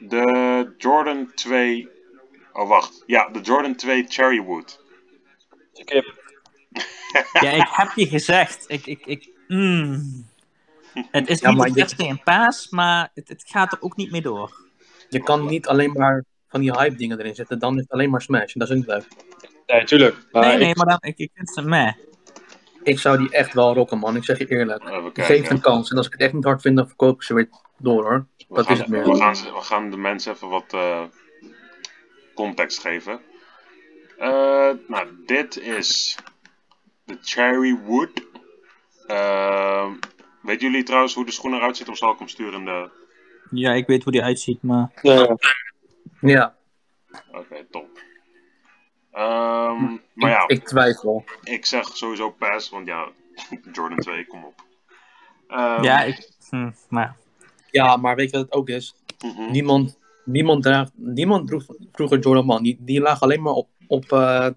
[SPEAKER 2] De Jordan 2. Oh, wacht. Ja, de Jordan 2 Cherrywood.
[SPEAKER 3] Skip.
[SPEAKER 1] Ja, ik heb je gezegd. Ik, ik, ik, mm. Het is
[SPEAKER 5] Ja,
[SPEAKER 1] niet
[SPEAKER 5] maar
[SPEAKER 1] het
[SPEAKER 5] je-
[SPEAKER 1] eerste in paas, maar het, het gaat er ook niet mee door.
[SPEAKER 5] Je kan niet alleen maar van die hype dingen erin zetten. Dan is het alleen maar smash. En dat is ook niet leuk.
[SPEAKER 3] Nee, tuurlijk. Maar
[SPEAKER 1] nee,
[SPEAKER 3] ik-
[SPEAKER 1] nee, maar dan, ik, ik vind ze meh.
[SPEAKER 5] Ik zou die echt wel rocken, man. Ik zeg je eerlijk.
[SPEAKER 2] Even
[SPEAKER 5] Ik
[SPEAKER 2] kijken.
[SPEAKER 5] geef het een kans. En als ik het echt niet hard vind, dan verkoop ik ze weer door, hoor.
[SPEAKER 2] We
[SPEAKER 5] Dat
[SPEAKER 2] gaan-
[SPEAKER 5] is het meer.
[SPEAKER 2] We gaan, ze- we gaan de mensen even wat eh, context geven. Eh, nou, dit is de Cherry Wood. Ehm, weten jullie trouwens hoe de schoen eruit ziet? Of zal ik hem sturen? in De...
[SPEAKER 1] Ja, ik weet hoe die uitziet, maar...
[SPEAKER 3] ja,
[SPEAKER 5] Ja,
[SPEAKER 2] Oké, top. Ehm, maar ja,
[SPEAKER 5] ik, ik twijfel.
[SPEAKER 2] ik zeg sowieso pass, want ja, Jordan 2, kom op. Ehm,
[SPEAKER 1] Ja, ik... Hm, maar...
[SPEAKER 5] Ja, maar weet je wat het ook is?
[SPEAKER 2] mhm.
[SPEAKER 5] Niemand, niemand, draagt, niemand droeg vroeger Jordan man. Die, die lagen alleen maar op, op eh,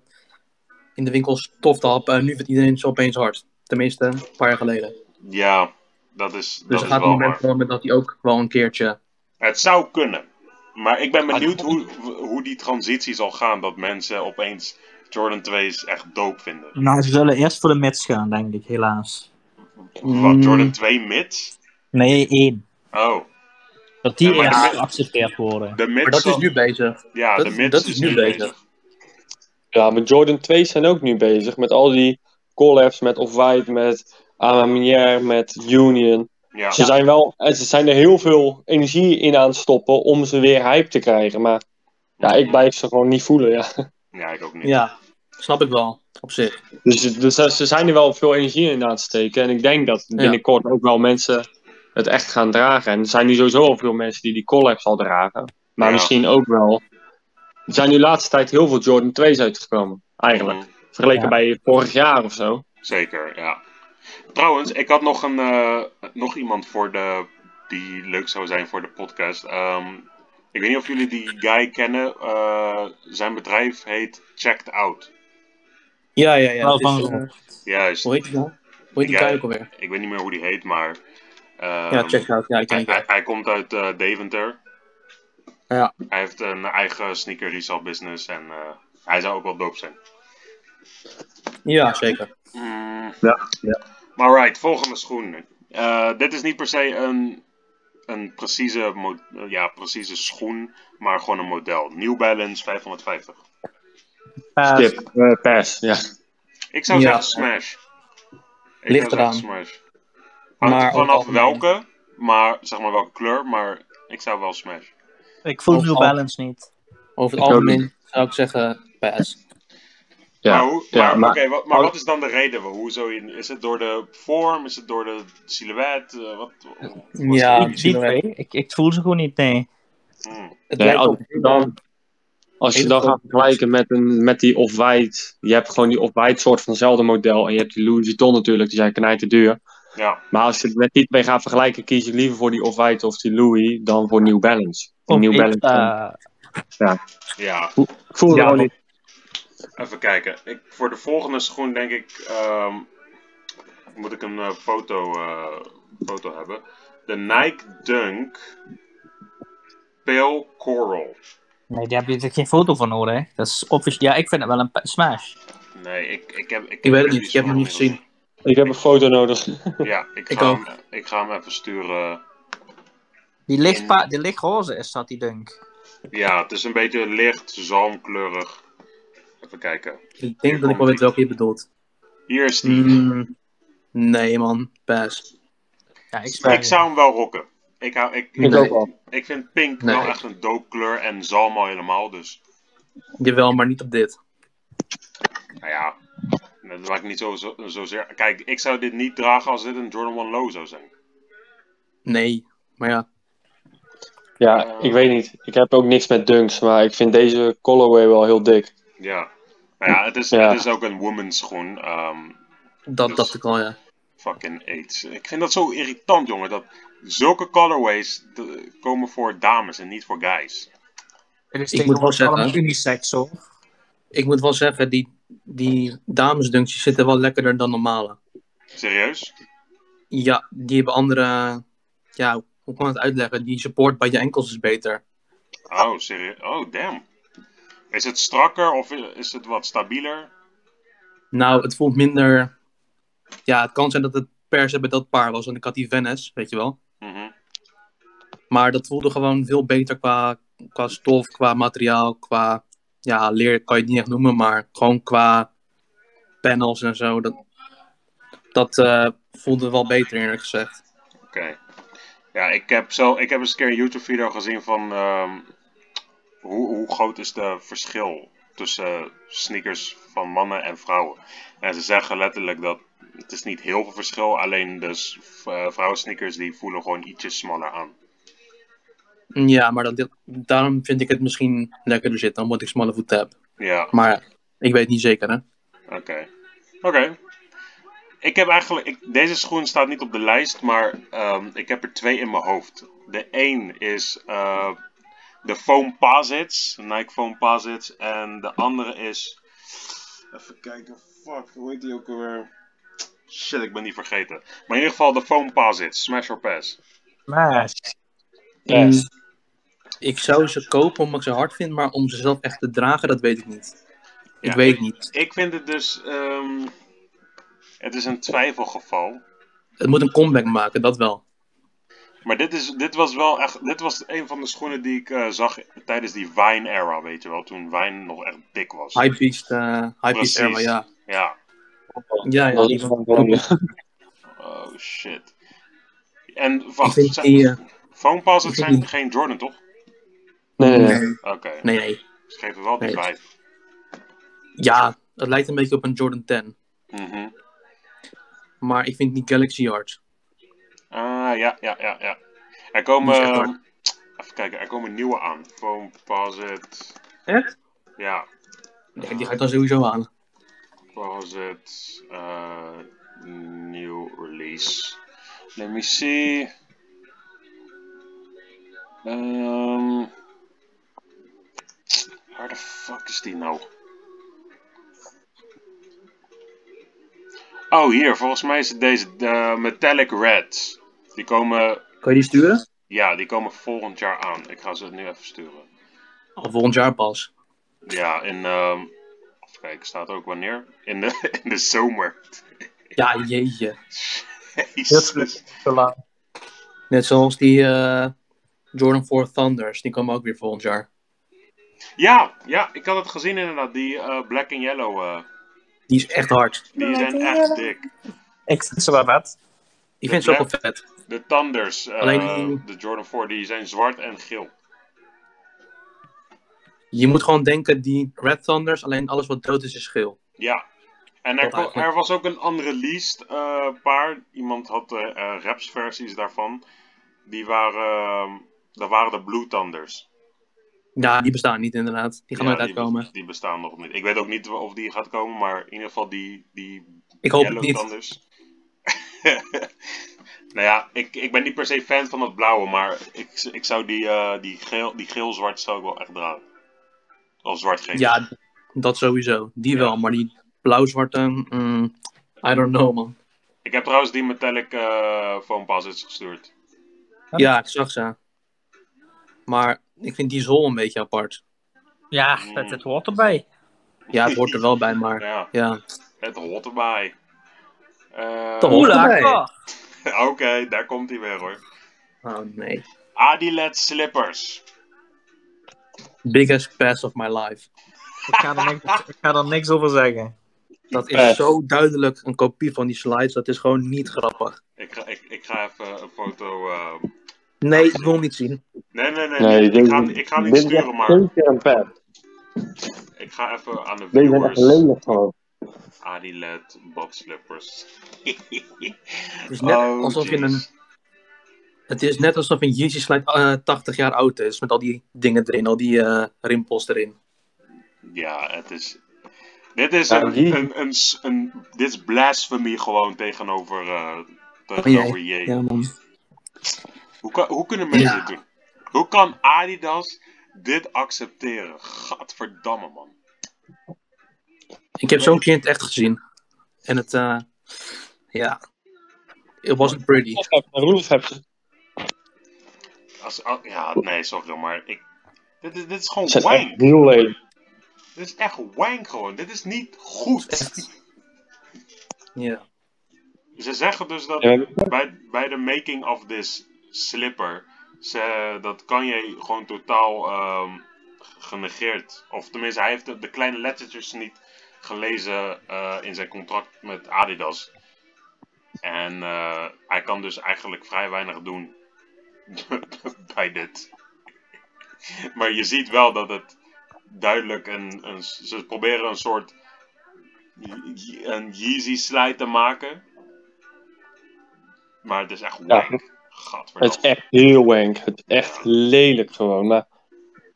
[SPEAKER 5] in de winkel stof te happen. En nu vindt iedereen ze opeens hard. Tenminste, een paar jaar geleden.
[SPEAKER 2] ja, dat is,
[SPEAKER 5] Dus
[SPEAKER 2] dat
[SPEAKER 5] er
[SPEAKER 2] is
[SPEAKER 5] gaat een
[SPEAKER 2] wel waar.
[SPEAKER 5] moment komen dat hij ook wel een keertje...
[SPEAKER 2] Het zou kunnen. Maar ik ben benieuwd hoe, hoe die transitie zal gaan dat mensen opeens Jordan 2's echt dope vinden.
[SPEAKER 1] Nou, ze zullen eerst voor de mits gaan, denk ik, helaas.
[SPEAKER 5] Mm.
[SPEAKER 2] Wat, Jordan 2 mids?
[SPEAKER 1] Nee, één.
[SPEAKER 2] Oh,
[SPEAKER 1] Dat die
[SPEAKER 2] Ja, maar de
[SPEAKER 1] eerst
[SPEAKER 2] mid-
[SPEAKER 1] geaccepteerd worden.
[SPEAKER 2] de
[SPEAKER 5] Maar
[SPEAKER 2] mids,
[SPEAKER 5] dat is
[SPEAKER 2] zal-
[SPEAKER 5] nu bezig.
[SPEAKER 2] ja,
[SPEAKER 5] dat
[SPEAKER 2] de
[SPEAKER 5] is-
[SPEAKER 2] mids
[SPEAKER 5] dat is nu bezig.
[SPEAKER 3] ja, maar Jordan 2's zijn ook nu bezig met al die collabs met Off-White, met Amamier, met Union.
[SPEAKER 2] Ja,
[SPEAKER 3] Ze zijn wel, en ze zijn er heel veel energie in aan het stoppen om ze weer hype te krijgen. Maar ja, ik blijf ze gewoon niet voelen. Ja.
[SPEAKER 2] ja, ik ook niet.
[SPEAKER 5] Ja, snap ik wel. Op zich.
[SPEAKER 3] Dus, dus ze- ze zijn er wel veel energie in aan het steken. En ik denk dat binnenkort ook wel mensen het echt gaan dragen. En er zijn nu sowieso al veel mensen die die collabs al dragen. Maar
[SPEAKER 2] Ja.
[SPEAKER 3] misschien ook wel. Er zijn nu de laatste tijd heel veel Jordan 2's uitgekomen. Eigenlijk.
[SPEAKER 2] Mhm,
[SPEAKER 3] Vergeleken
[SPEAKER 1] Ja.
[SPEAKER 3] bij vorig jaar of zo.
[SPEAKER 2] Zeker, ja. Trouwens, ik had nog, een, eh, nog iemand voor de, die leuk zou zijn voor de podcast. Ehm, ik weet niet of jullie die guy kennen. Eh, zijn bedrijf heet Checked Out.
[SPEAKER 5] Ja, ja, ja.
[SPEAKER 1] Wel
[SPEAKER 5] het is,
[SPEAKER 1] van
[SPEAKER 5] eh,
[SPEAKER 1] gehoord.
[SPEAKER 2] Juist.
[SPEAKER 5] hoe heet die nou? Hoe heet die
[SPEAKER 2] Ja.
[SPEAKER 5] guy ook alweer?
[SPEAKER 2] Ik weet niet meer hoe die heet, maar. ehm,
[SPEAKER 5] Ja, check out. Ja, ik ken
[SPEAKER 2] hij,
[SPEAKER 5] die guy.
[SPEAKER 2] hij, hij komt uit eh, Deventer.
[SPEAKER 5] Ja.
[SPEAKER 2] Hij heeft een eigen sneaker resale business en eh, hij zou ook wel doop zijn.
[SPEAKER 5] Ja, zeker.
[SPEAKER 2] Mm.
[SPEAKER 3] Ja, ja.
[SPEAKER 2] Maar right, volgende schoen. Eh, dit is niet per se een, een precieze, mo- eh, ja, precieze schoen, maar gewoon een model. New Balance 550.
[SPEAKER 1] Paas.
[SPEAKER 3] Skip. Eh, pers. Ja.
[SPEAKER 2] Ik zou
[SPEAKER 5] Ja.
[SPEAKER 2] zeggen Smash. Ik
[SPEAKER 5] Ligt
[SPEAKER 2] zou zeggen
[SPEAKER 5] eraan.
[SPEAKER 2] Smash. Hangt
[SPEAKER 5] Maar
[SPEAKER 2] er vanaf
[SPEAKER 5] over het algemeen.
[SPEAKER 2] welke, maar zeg maar welke kleur, maar ik zou wel Smash.
[SPEAKER 1] Ik voel
[SPEAKER 5] Of-
[SPEAKER 1] New
[SPEAKER 5] of-
[SPEAKER 1] Balance niet.
[SPEAKER 5] Over
[SPEAKER 3] Ik
[SPEAKER 5] het
[SPEAKER 3] ook
[SPEAKER 5] algemeen zou ik zeggen pass.
[SPEAKER 3] Ja.
[SPEAKER 2] maar, hoe- maar,
[SPEAKER 3] ja, maar-
[SPEAKER 2] oké, wat, maar
[SPEAKER 3] Oh.
[SPEAKER 2] wat is dan de reden? Hoezo in, is het door de vorm? Is het door de silhouet? Eh, wat, wat-
[SPEAKER 5] Ja,
[SPEAKER 1] ik, die twee, ik, ik voel ze gewoon niet, nee.
[SPEAKER 2] hmm.
[SPEAKER 5] Het
[SPEAKER 3] Nee, oh.
[SPEAKER 5] lijkt
[SPEAKER 3] als,
[SPEAKER 5] op-
[SPEAKER 3] dan, Als je
[SPEAKER 5] Hele
[SPEAKER 3] dan
[SPEAKER 5] grote
[SPEAKER 3] gaat vergelijken met, een, met die off-white. Je hebt gewoon die off-white soort van hetzelfde model. En je hebt die Louis Vuitton natuurlijk, die zijn knijten duur.
[SPEAKER 2] Ja.
[SPEAKER 3] Maar als je het met die twee gaat vergelijken, kies ik liever voor die off-white of die Louis dan voor New Balance. Die New Balance.
[SPEAKER 1] eh,
[SPEAKER 2] ja.
[SPEAKER 3] ik eh, voel
[SPEAKER 1] ja,
[SPEAKER 3] gewoon niet.
[SPEAKER 2] Even kijken. Ik, voor de volgende schoen denk ik ehm, moet ik een eh, foto, eh, foto hebben. De Nike Dunk Pale Coral.
[SPEAKER 1] Nee, daar heb je er geen foto van nodig. hè. Dat is officieel. Ja, ik vind het wel een pa- smash.
[SPEAKER 2] Nee, ik, ik heb... Ik,
[SPEAKER 5] Ik weet
[SPEAKER 2] heb
[SPEAKER 5] het niet,
[SPEAKER 2] die
[SPEAKER 5] ik heb hem
[SPEAKER 2] schoen
[SPEAKER 5] niet gezien.
[SPEAKER 3] Ik heb een foto nodig.
[SPEAKER 2] inmiddels. Ja, ik
[SPEAKER 5] Ik
[SPEAKER 2] ga,
[SPEAKER 5] ook.
[SPEAKER 2] hem, ik ga hem even sturen.
[SPEAKER 1] Die, lichtpa- die lichtroze is dat, die dunk.
[SPEAKER 2] Ja, het is een beetje licht, zalmkleurig. Even kijken.
[SPEAKER 5] Ik denk dat ik wel weet welke je bedoelt.
[SPEAKER 2] Hier is die.
[SPEAKER 3] Hmm.
[SPEAKER 5] Mm, nee, man. Pass.
[SPEAKER 1] Ja, ik
[SPEAKER 2] Ik zou hem wel rocken. Ik, hou, ik,
[SPEAKER 3] Ik
[SPEAKER 2] ik,
[SPEAKER 3] ook wel.
[SPEAKER 2] ik vind pink
[SPEAKER 5] Nee.
[SPEAKER 2] wel echt een dope kleur en zalm al helemaal, dus...
[SPEAKER 5] Jawel, maar niet op dit.
[SPEAKER 2] Nou ja, dat maakt niet zo, zo, zozeer. Kijk, ik zou dit niet dragen als dit een Jordan 1 Low zou zijn.
[SPEAKER 5] Nee. Maar ja,
[SPEAKER 3] Ja, ik weet niet. Ik heb ook niks met dunks, maar ik vind deze colorway wel heel dik.
[SPEAKER 2] Ja. Nou ja, het is,
[SPEAKER 3] Ja.
[SPEAKER 2] Het is ook een woman's schoen. ehm,
[SPEAKER 5] dat dacht ik al, ja.
[SPEAKER 2] fucking AIDS. Ik vind dat zo irritant, jongen. Dat zulke colorways de- komen voor dames en niet voor guys.
[SPEAKER 1] Het is
[SPEAKER 5] Ik moet wel
[SPEAKER 1] tegenwoordig
[SPEAKER 5] zeggen,
[SPEAKER 1] allemaal
[SPEAKER 5] hè.
[SPEAKER 1] unisex, hoor.
[SPEAKER 5] Ik moet wel zeggen, die, die damesdunks die zitten wel lekkerder dan normale.
[SPEAKER 2] Serieus?
[SPEAKER 5] Ja, die hebben andere... Ja, hoe kan ik het uitleggen? Die support bij je enkels is beter.
[SPEAKER 2] Oh, serieus? Oh, damn. Is het strakker of is het wat stabieler?
[SPEAKER 5] Nou, het voelt minder... Ja, het kan zijn dat het per se bij dat paar was. Want ik had die Venice, weet je wel.
[SPEAKER 2] Mhm.
[SPEAKER 5] Maar dat voelde gewoon veel beter qua, qua stof, qua materiaal, qua ja, leer kan je het niet echt noemen, maar gewoon qua panels en zo. Dat, dat eh, voelde wel beter eerlijk gezegd.
[SPEAKER 2] Oké. Ja, ik heb, zo, ik heb eens een keer een YouTube-video gezien van ehm, hoe, hoe groot is de verschil tussen sneakers van mannen en vrouwen. En ze zeggen letterlijk dat het is niet heel veel verschil, alleen dus vrouwen sneakers die voelen gewoon ietsje smaller aan.
[SPEAKER 5] Ja, maar dat, daarom vind ik het misschien lekkerder zitten, omdat ik smalle voeten heb.
[SPEAKER 2] Ja,
[SPEAKER 5] Maar ik weet niet zeker, hè?
[SPEAKER 2] oké. Oké. Ik heb eigenlijk, ik, deze schoen staat niet op de lijst, maar ehm, ik heb er twee in mijn hoofd. De één is eh, de Foam Posits, Nike Foam Posits. En de andere is. Even kijken, fuck, hoe heet die ook alweer? Shit, ik ben die vergeten. Maar in ieder geval de Foam Posits, Smash or Pass.
[SPEAKER 1] Smash.
[SPEAKER 3] Yes.
[SPEAKER 5] Mm, Ik zou ze kopen omdat ik ze hard vind, maar om ze zelf echt te dragen, dat weet ik niet. Ik
[SPEAKER 2] Ja,
[SPEAKER 5] weet
[SPEAKER 2] ik-
[SPEAKER 5] niet.
[SPEAKER 2] Ik vind het dus. ehm, het is een twijfelgeval.
[SPEAKER 5] Het moet een comeback maken, dat wel.
[SPEAKER 2] Maar dit, is, dit was wel echt. Dit was een van de schoenen die ik eh, zag tijdens die Wine-era, weet je wel. Toen Wine nog echt dik was.
[SPEAKER 5] Hypebeast, eh Hypebeast
[SPEAKER 2] Precies.
[SPEAKER 5] Airway, ja.
[SPEAKER 2] Ja.
[SPEAKER 5] Ja, ja.
[SPEAKER 3] Dat
[SPEAKER 5] die
[SPEAKER 3] is
[SPEAKER 5] van-
[SPEAKER 3] van Ronnie.
[SPEAKER 2] Oh shit. En
[SPEAKER 5] Ik
[SPEAKER 2] wacht,
[SPEAKER 5] vind
[SPEAKER 2] zijn-
[SPEAKER 5] die... eh,
[SPEAKER 2] Foam Posits
[SPEAKER 5] ik vind
[SPEAKER 2] zijn
[SPEAKER 5] die-
[SPEAKER 2] geen Jordan, toch?
[SPEAKER 3] Nee, nee, nee.
[SPEAKER 5] eh, nee,
[SPEAKER 2] Oké.
[SPEAKER 5] nee, nee.
[SPEAKER 2] Ze geven wel die
[SPEAKER 5] Nee.
[SPEAKER 2] vibe.
[SPEAKER 5] Ja, het lijkt een beetje op een Jordan 10.
[SPEAKER 2] Mhm.
[SPEAKER 5] Maar ik vind niet Galaxy Art.
[SPEAKER 2] Ah, ja, ja, ja, ja. Er
[SPEAKER 5] Die
[SPEAKER 2] komen...
[SPEAKER 5] is echt hard.
[SPEAKER 2] even kijken, er komen nieuwe aan. Foam Posit...
[SPEAKER 5] Echt?
[SPEAKER 2] Ja,
[SPEAKER 5] Ja, die ga ik dan sowieso aan.
[SPEAKER 2] Posit... eh new release. Let me see... Ehm where the fuck is die nou? Oh, hier. Volgens mij is het deze de Metallic Red. Die komen
[SPEAKER 5] Kan je die sturen?
[SPEAKER 2] Ja, die komen volgend jaar aan. Ik ga ze nu even sturen.
[SPEAKER 5] Of volgend jaar pas.
[SPEAKER 2] Ja, in. ehm even kijken, staat ook wanneer? In de, in de zomer.
[SPEAKER 5] Ja, jeetje.
[SPEAKER 2] Jezus.
[SPEAKER 5] Net zoals die eh, Jordan 4 Thunders. Die komen ook weer volgend jaar.
[SPEAKER 2] Ja, ja, ik had het gezien inderdaad. Die eh, black and yellow. eh,
[SPEAKER 5] Die is echt hard.
[SPEAKER 2] die zijn echt dik.
[SPEAKER 1] Ik vind ze wel vet.
[SPEAKER 5] Ik vind ze ook wel vet.
[SPEAKER 2] De Thunders, eh,
[SPEAKER 5] Alleen die-
[SPEAKER 2] de Jordan 4, die zijn zwart en geel.
[SPEAKER 5] Je moet gewoon denken, die Red Thunders, alleen alles wat dood is, is geel.
[SPEAKER 2] Ja. En er,
[SPEAKER 5] Dat
[SPEAKER 2] ko-
[SPEAKER 5] eigenlijk.
[SPEAKER 2] er was ook een unreleased eh paar. Iemand had eh eh, rapsversies daarvan. Die waren. ehm dat waren de Blue Thunders.
[SPEAKER 5] Ja, die bestaan niet inderdaad. Die gaan
[SPEAKER 2] Ja,
[SPEAKER 5] nooit
[SPEAKER 2] die-
[SPEAKER 5] uitkomen.
[SPEAKER 2] Die bestaan nog niet. Ik weet ook niet of die gaat komen, maar in ieder geval die, die
[SPEAKER 5] Ik hoop het
[SPEAKER 2] yellow
[SPEAKER 5] niet.
[SPEAKER 2] tanders. nou ja, ik, ik ben niet per se fan van dat blauwe, maar ik, ik zou die, eh, die, geel, die geel-zwart zou ik wel echt dragen. Of zwart-geel.
[SPEAKER 5] Ja, dat sowieso. Die wel, maar die blauw-zwarte, mm, I don't know man.
[SPEAKER 2] Ik heb trouwens die metallic eh foam posits gestuurd.
[SPEAKER 5] Ja, ik zag ze. Maar ik vind die zool een beetje apart.
[SPEAKER 1] Ja, het, het hoort erbij.
[SPEAKER 5] Ja, het hoort er wel bij, maar
[SPEAKER 2] Nou Ja,
[SPEAKER 5] ja.
[SPEAKER 2] het hoort erbij. Eh,
[SPEAKER 5] Toch? Hoort
[SPEAKER 1] Oela,
[SPEAKER 5] erbij.
[SPEAKER 1] ka.
[SPEAKER 2] Oké, daar komt hij weer hoor.
[SPEAKER 5] Oh nee.
[SPEAKER 2] Adilet slippers.
[SPEAKER 5] Biggest pass of my life.
[SPEAKER 1] ik ga, er niks, ik ga er niks over zeggen.
[SPEAKER 5] Dat is
[SPEAKER 3] Pass.
[SPEAKER 5] zo duidelijk een kopie van die slides. Dat is gewoon niet grappig.
[SPEAKER 2] Ik ga, ik, ik ga even een foto. eh,
[SPEAKER 5] Nee, ik wil hem niet zien.
[SPEAKER 2] Nee, nee, nee.
[SPEAKER 3] Nee,
[SPEAKER 2] ik, ga, ik ga niet sturen, maar
[SPEAKER 3] Zeker een pet.
[SPEAKER 2] ik ga even aan de
[SPEAKER 3] Deze zijn echt
[SPEAKER 2] viewers.
[SPEAKER 3] lelijk gewoon.
[SPEAKER 2] Adilet bodslippers.
[SPEAKER 5] Het is Dus net
[SPEAKER 2] Oh,
[SPEAKER 5] alsof je een Het is net alsof een Yeezy Slide eh, 80 jaar oud is. Met al die dingen erin, al die eh, rimpels erin.
[SPEAKER 2] Ja, het is. Dit is,
[SPEAKER 3] Ja,
[SPEAKER 2] een,
[SPEAKER 3] die-
[SPEAKER 2] een, een, s- een- dit is blasphemy gewoon tegenover, eh tegenover
[SPEAKER 3] Oh,
[SPEAKER 2] Jee.
[SPEAKER 5] Ja, man.
[SPEAKER 2] Hoe, kan, hoe kunnen mensen
[SPEAKER 5] Ja.
[SPEAKER 2] dit doen? Hoe kan Adidas dit accepteren? Gadverdamme, man.
[SPEAKER 5] Ik heb zo'n kind echt gezien. En het, eh, ja. It wasn't pretty.
[SPEAKER 3] Roelof heb ze.
[SPEAKER 2] Als, al- ja, nee, sorry, maar ik, dit, is, dit is gewoon
[SPEAKER 3] Ze zijn echt
[SPEAKER 2] wank.
[SPEAKER 3] heel lelijk.
[SPEAKER 2] Dit is echt wank gewoon. Dit is niet goed.
[SPEAKER 5] Ja.
[SPEAKER 2] Ze zeggen dus dat
[SPEAKER 3] Ja,
[SPEAKER 2] bij, bij de making of this slipper, ze, dat Kanye gewoon totaal ehm, genegeerd. Of tenminste, hij heeft de, de kleine lettertjes niet gelezen eh, in zijn contract met Adidas. En eh, hij kan dus eigenlijk vrij weinig doen bij dit. Maar je ziet wel dat het duidelijk een, een ze proberen een soort een Yeezy slide te maken. Maar het is echt wank.
[SPEAKER 3] Het is
[SPEAKER 2] Gadverdamme.
[SPEAKER 3] echt heel wank. Het is echt lelijk gewoon. Maar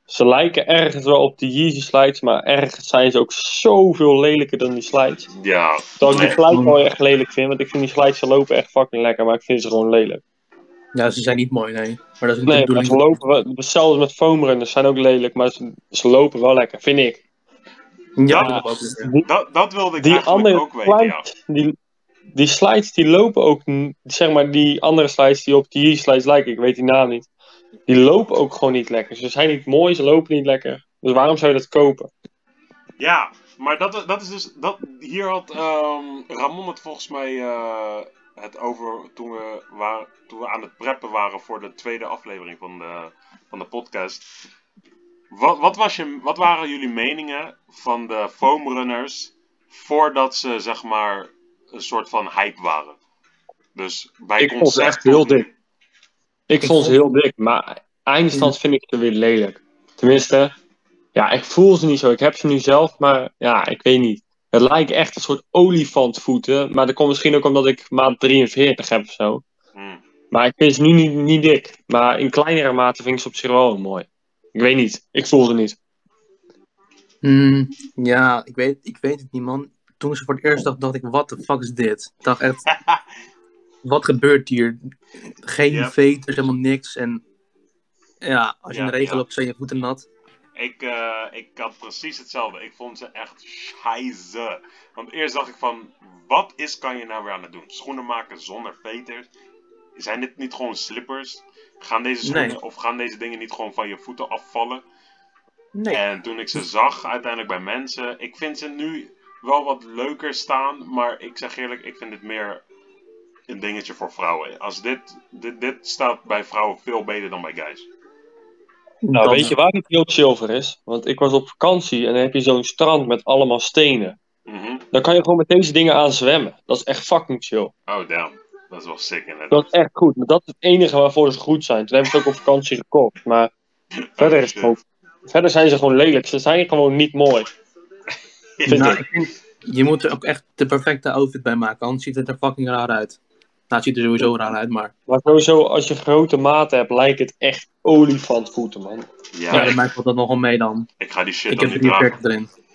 [SPEAKER 3] ze lijken ergens wel op de Yeezy slides, maar ergens zijn ze ook zoveel lelijker dan die slides.
[SPEAKER 2] Ja,
[SPEAKER 3] Terwijl ik
[SPEAKER 2] nee.
[SPEAKER 3] die slides wel echt lelijk vind, want ik vind die slides ze lopen echt fucking lekker, maar ik vind ze gewoon lelijk.
[SPEAKER 5] ja, ze zijn niet mooi, nee. Maar dat is niet de
[SPEAKER 3] Nee, maar
[SPEAKER 5] bedoeling.
[SPEAKER 3] ze lopen wel, hetzelfde met foamrunners zijn ook lelijk, maar ze, ze lopen wel lekker, vind ik.
[SPEAKER 5] Ja,
[SPEAKER 2] Ja.
[SPEAKER 5] dat ook niet, ja.
[SPEAKER 2] dat, dat wilde ik
[SPEAKER 3] Die
[SPEAKER 2] eigenlijk
[SPEAKER 3] andere
[SPEAKER 2] ook weten. Ja.
[SPEAKER 3] slides, die, die slides die lopen ook, n- zeg maar die andere slides die op die Yeezy slides lijken, ik weet die naam niet. Die lopen ook gewoon niet lekker. Ze zijn niet mooi, ze lopen niet lekker. Dus waarom zou je dat kopen?
[SPEAKER 2] Ja, maar dat, dat is dus. Dat, hier had ehm, Ramon het volgens mij eh, het over toen we, wa- toen we aan het preppen waren voor de tweede aflevering van de, van de podcast. Wat, wat, was je, wat waren jullie meningen van de foamrunners voordat ze zeg maar een soort van hype waren? Dus bij
[SPEAKER 3] Ik vond ze
[SPEAKER 2] concept
[SPEAKER 3] echt heel
[SPEAKER 2] of-
[SPEAKER 3] dik. Ik
[SPEAKER 5] Ik
[SPEAKER 3] vond ze
[SPEAKER 5] vond-
[SPEAKER 3] heel dik, maar eindstand vind ik ze weer lelijk. Tenminste, ja, ik voel ze niet zo. Ik heb ze nu zelf, maar ja, ik weet niet. Het lijkt echt een soort olifantvoeten, maar dat komt misschien ook omdat ik maat 43 heb of zo.
[SPEAKER 2] Hmm.
[SPEAKER 3] Maar ik vind ze nu niet, niet dik. Maar in kleinere mate vind ik ze op zich wel mooi. Ik weet niet. Ik voel ze niet.
[SPEAKER 5] Mm, ja, ik weet, ik weet het niet, man. Toen ik ze voor het eerst dacht, dacht ik, what the fuck is dit? Ik dacht echt, wat gebeurt hier? Geen
[SPEAKER 2] Ja.
[SPEAKER 5] veters, helemaal niks. En ja, als je in
[SPEAKER 2] Ja,
[SPEAKER 5] de regen
[SPEAKER 2] ja.
[SPEAKER 5] loopt, zijn je voeten nat.
[SPEAKER 2] Ik, eh, ik had precies hetzelfde. Ik vond ze echt scheiße. Want eerst dacht ik van, wat is kan je nou weer aan het doen? Schoenen maken zonder veters? Zijn dit niet gewoon slippers? Gaan deze schoenen
[SPEAKER 5] Nee.
[SPEAKER 2] of gaan deze dingen niet gewoon van je voeten afvallen?
[SPEAKER 5] Nee.
[SPEAKER 2] En toen ik ze zag uiteindelijk bij mensen, ik vind ze nu wel wat leuker staan, maar ik zeg eerlijk, ik vind dit meer een dingetje voor vrouwen. Als dit, dit, dit staat bij vrouwen veel beter dan bij guys.
[SPEAKER 3] Nou,
[SPEAKER 5] Dat-
[SPEAKER 3] weet je waar het heel chill voor is? Want ik was op vakantie en dan heb je zo'n strand met allemaal stenen.
[SPEAKER 2] Mhm.
[SPEAKER 3] Dan kan je gewoon met deze dingen aan zwemmen. Dat is echt fucking chill.
[SPEAKER 2] Oh damn, dat is wel sick inderdaad.
[SPEAKER 3] Dat is echt goed. Maar dat is het enige waarvoor ze goed zijn. Toen hebben ze het ook op vakantie gekocht. Maar verder, is het gewoon, verder zijn ze gewoon lelijk. Ze zijn gewoon niet mooi. Vind
[SPEAKER 5] Nou,
[SPEAKER 3] ik.
[SPEAKER 5] ik vind- je moet er ook echt de perfecte outfit bij maken, anders ziet het er fucking raar uit. Nou, het ziet er sowieso raar uit, maar...
[SPEAKER 3] Maar sowieso, als je grote maten hebt, lijkt het echt olifantvoeten, man.
[SPEAKER 2] Ja,
[SPEAKER 5] Ja, dat
[SPEAKER 2] ik,
[SPEAKER 5] maakt wel dat nog wel mee dan.
[SPEAKER 2] ik ga die shit
[SPEAKER 5] Ik
[SPEAKER 2] dan
[SPEAKER 5] heb
[SPEAKER 2] niet dragen.
[SPEAKER 5] 43 erin.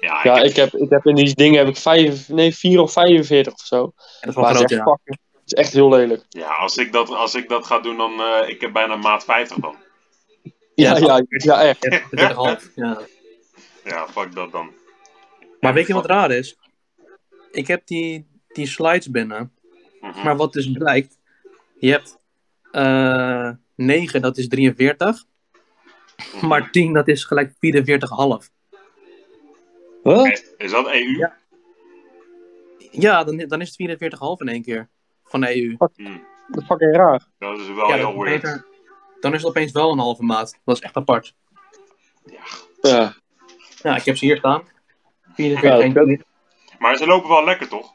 [SPEAKER 2] Ja, ik
[SPEAKER 3] Ja,
[SPEAKER 2] heb-
[SPEAKER 3] ik heb, ik heb in die dingen heb ik vijf, nee, 4 of 45 of zo.
[SPEAKER 5] En dat is wel
[SPEAKER 3] Maar het is
[SPEAKER 5] groot,
[SPEAKER 3] echt,
[SPEAKER 5] ja.
[SPEAKER 3] fucking- het is echt heel lelijk.
[SPEAKER 2] ja als, ik dat, als ik dat ga doen, dan eh ik heb bijna maat 50 dan.
[SPEAKER 3] Ja, ja, ja, echt.
[SPEAKER 5] 43,5. Ja.
[SPEAKER 2] Ja, fuck dat dan.
[SPEAKER 5] Maar weet je wat raar is? Ik heb die, die slides binnen.
[SPEAKER 2] Mhm.
[SPEAKER 5] Maar wat dus blijkt... Je hebt... eh 9, dat is 43.
[SPEAKER 2] Mhm.
[SPEAKER 5] Maar 10, dat is gelijk 44,5.
[SPEAKER 3] Huh?
[SPEAKER 2] Is dat E EU?
[SPEAKER 5] Ja. Ja, dan, dan is het 44,5 in één keer. Van de EU.
[SPEAKER 3] Dat is fucking raar.
[SPEAKER 2] Dat is wel
[SPEAKER 5] ja,
[SPEAKER 2] Oh, heel
[SPEAKER 5] dan,
[SPEAKER 2] weird.
[SPEAKER 5] beter- dan is het opeens wel een halve maat. Dat is echt apart.
[SPEAKER 3] Ja.
[SPEAKER 5] Ja, Nou, ik heb ze hier staan. 44,
[SPEAKER 3] Ja, dat-
[SPEAKER 5] 41.
[SPEAKER 2] Maar ze lopen wel lekker, toch?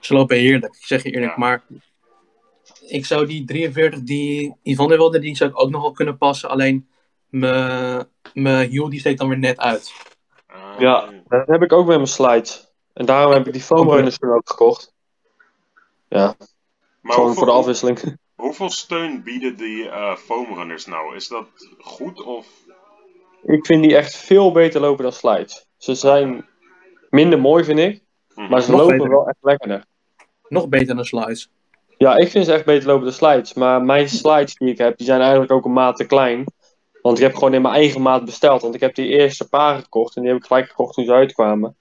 [SPEAKER 5] Ze lopen heerlijk, ik zeg je eerlijk.
[SPEAKER 2] Ja.
[SPEAKER 5] Maar ik zou die 43, die Yvonne wilde, die zou ik ook nog wel kunnen passen. Alleen mijn mijn hiel die steekt dan weer net uit.
[SPEAKER 2] Eh,
[SPEAKER 3] Ja. Dat heb ik ook met mijn slides. En daarom heb ik die foam runners toen ook gekocht.
[SPEAKER 2] Maar
[SPEAKER 3] Gewoon voor
[SPEAKER 2] hoeveel,
[SPEAKER 3] de afwisseling.
[SPEAKER 2] hoeveel steun bieden die eh foamrunners nou? Is dat goed of...
[SPEAKER 3] Ik vind die echt veel beter lopen dan slides. Ze zijn minder mooi, vind ik.
[SPEAKER 2] Mhm.
[SPEAKER 3] Maar ze
[SPEAKER 5] Nog
[SPEAKER 3] lopen
[SPEAKER 5] beter.
[SPEAKER 3] wel echt lekkerder.
[SPEAKER 5] Nog beter dan slides.
[SPEAKER 3] Ja, ik vind ze echt beter lopen dan slides. Maar mijn slides die ik heb, die zijn eigenlijk ook een maat te klein. Want ik heb gewoon in mijn eigen maat besteld. Want ik heb die eerste paar gekocht. En die heb ik gelijk gekocht toen ze uitkwamen.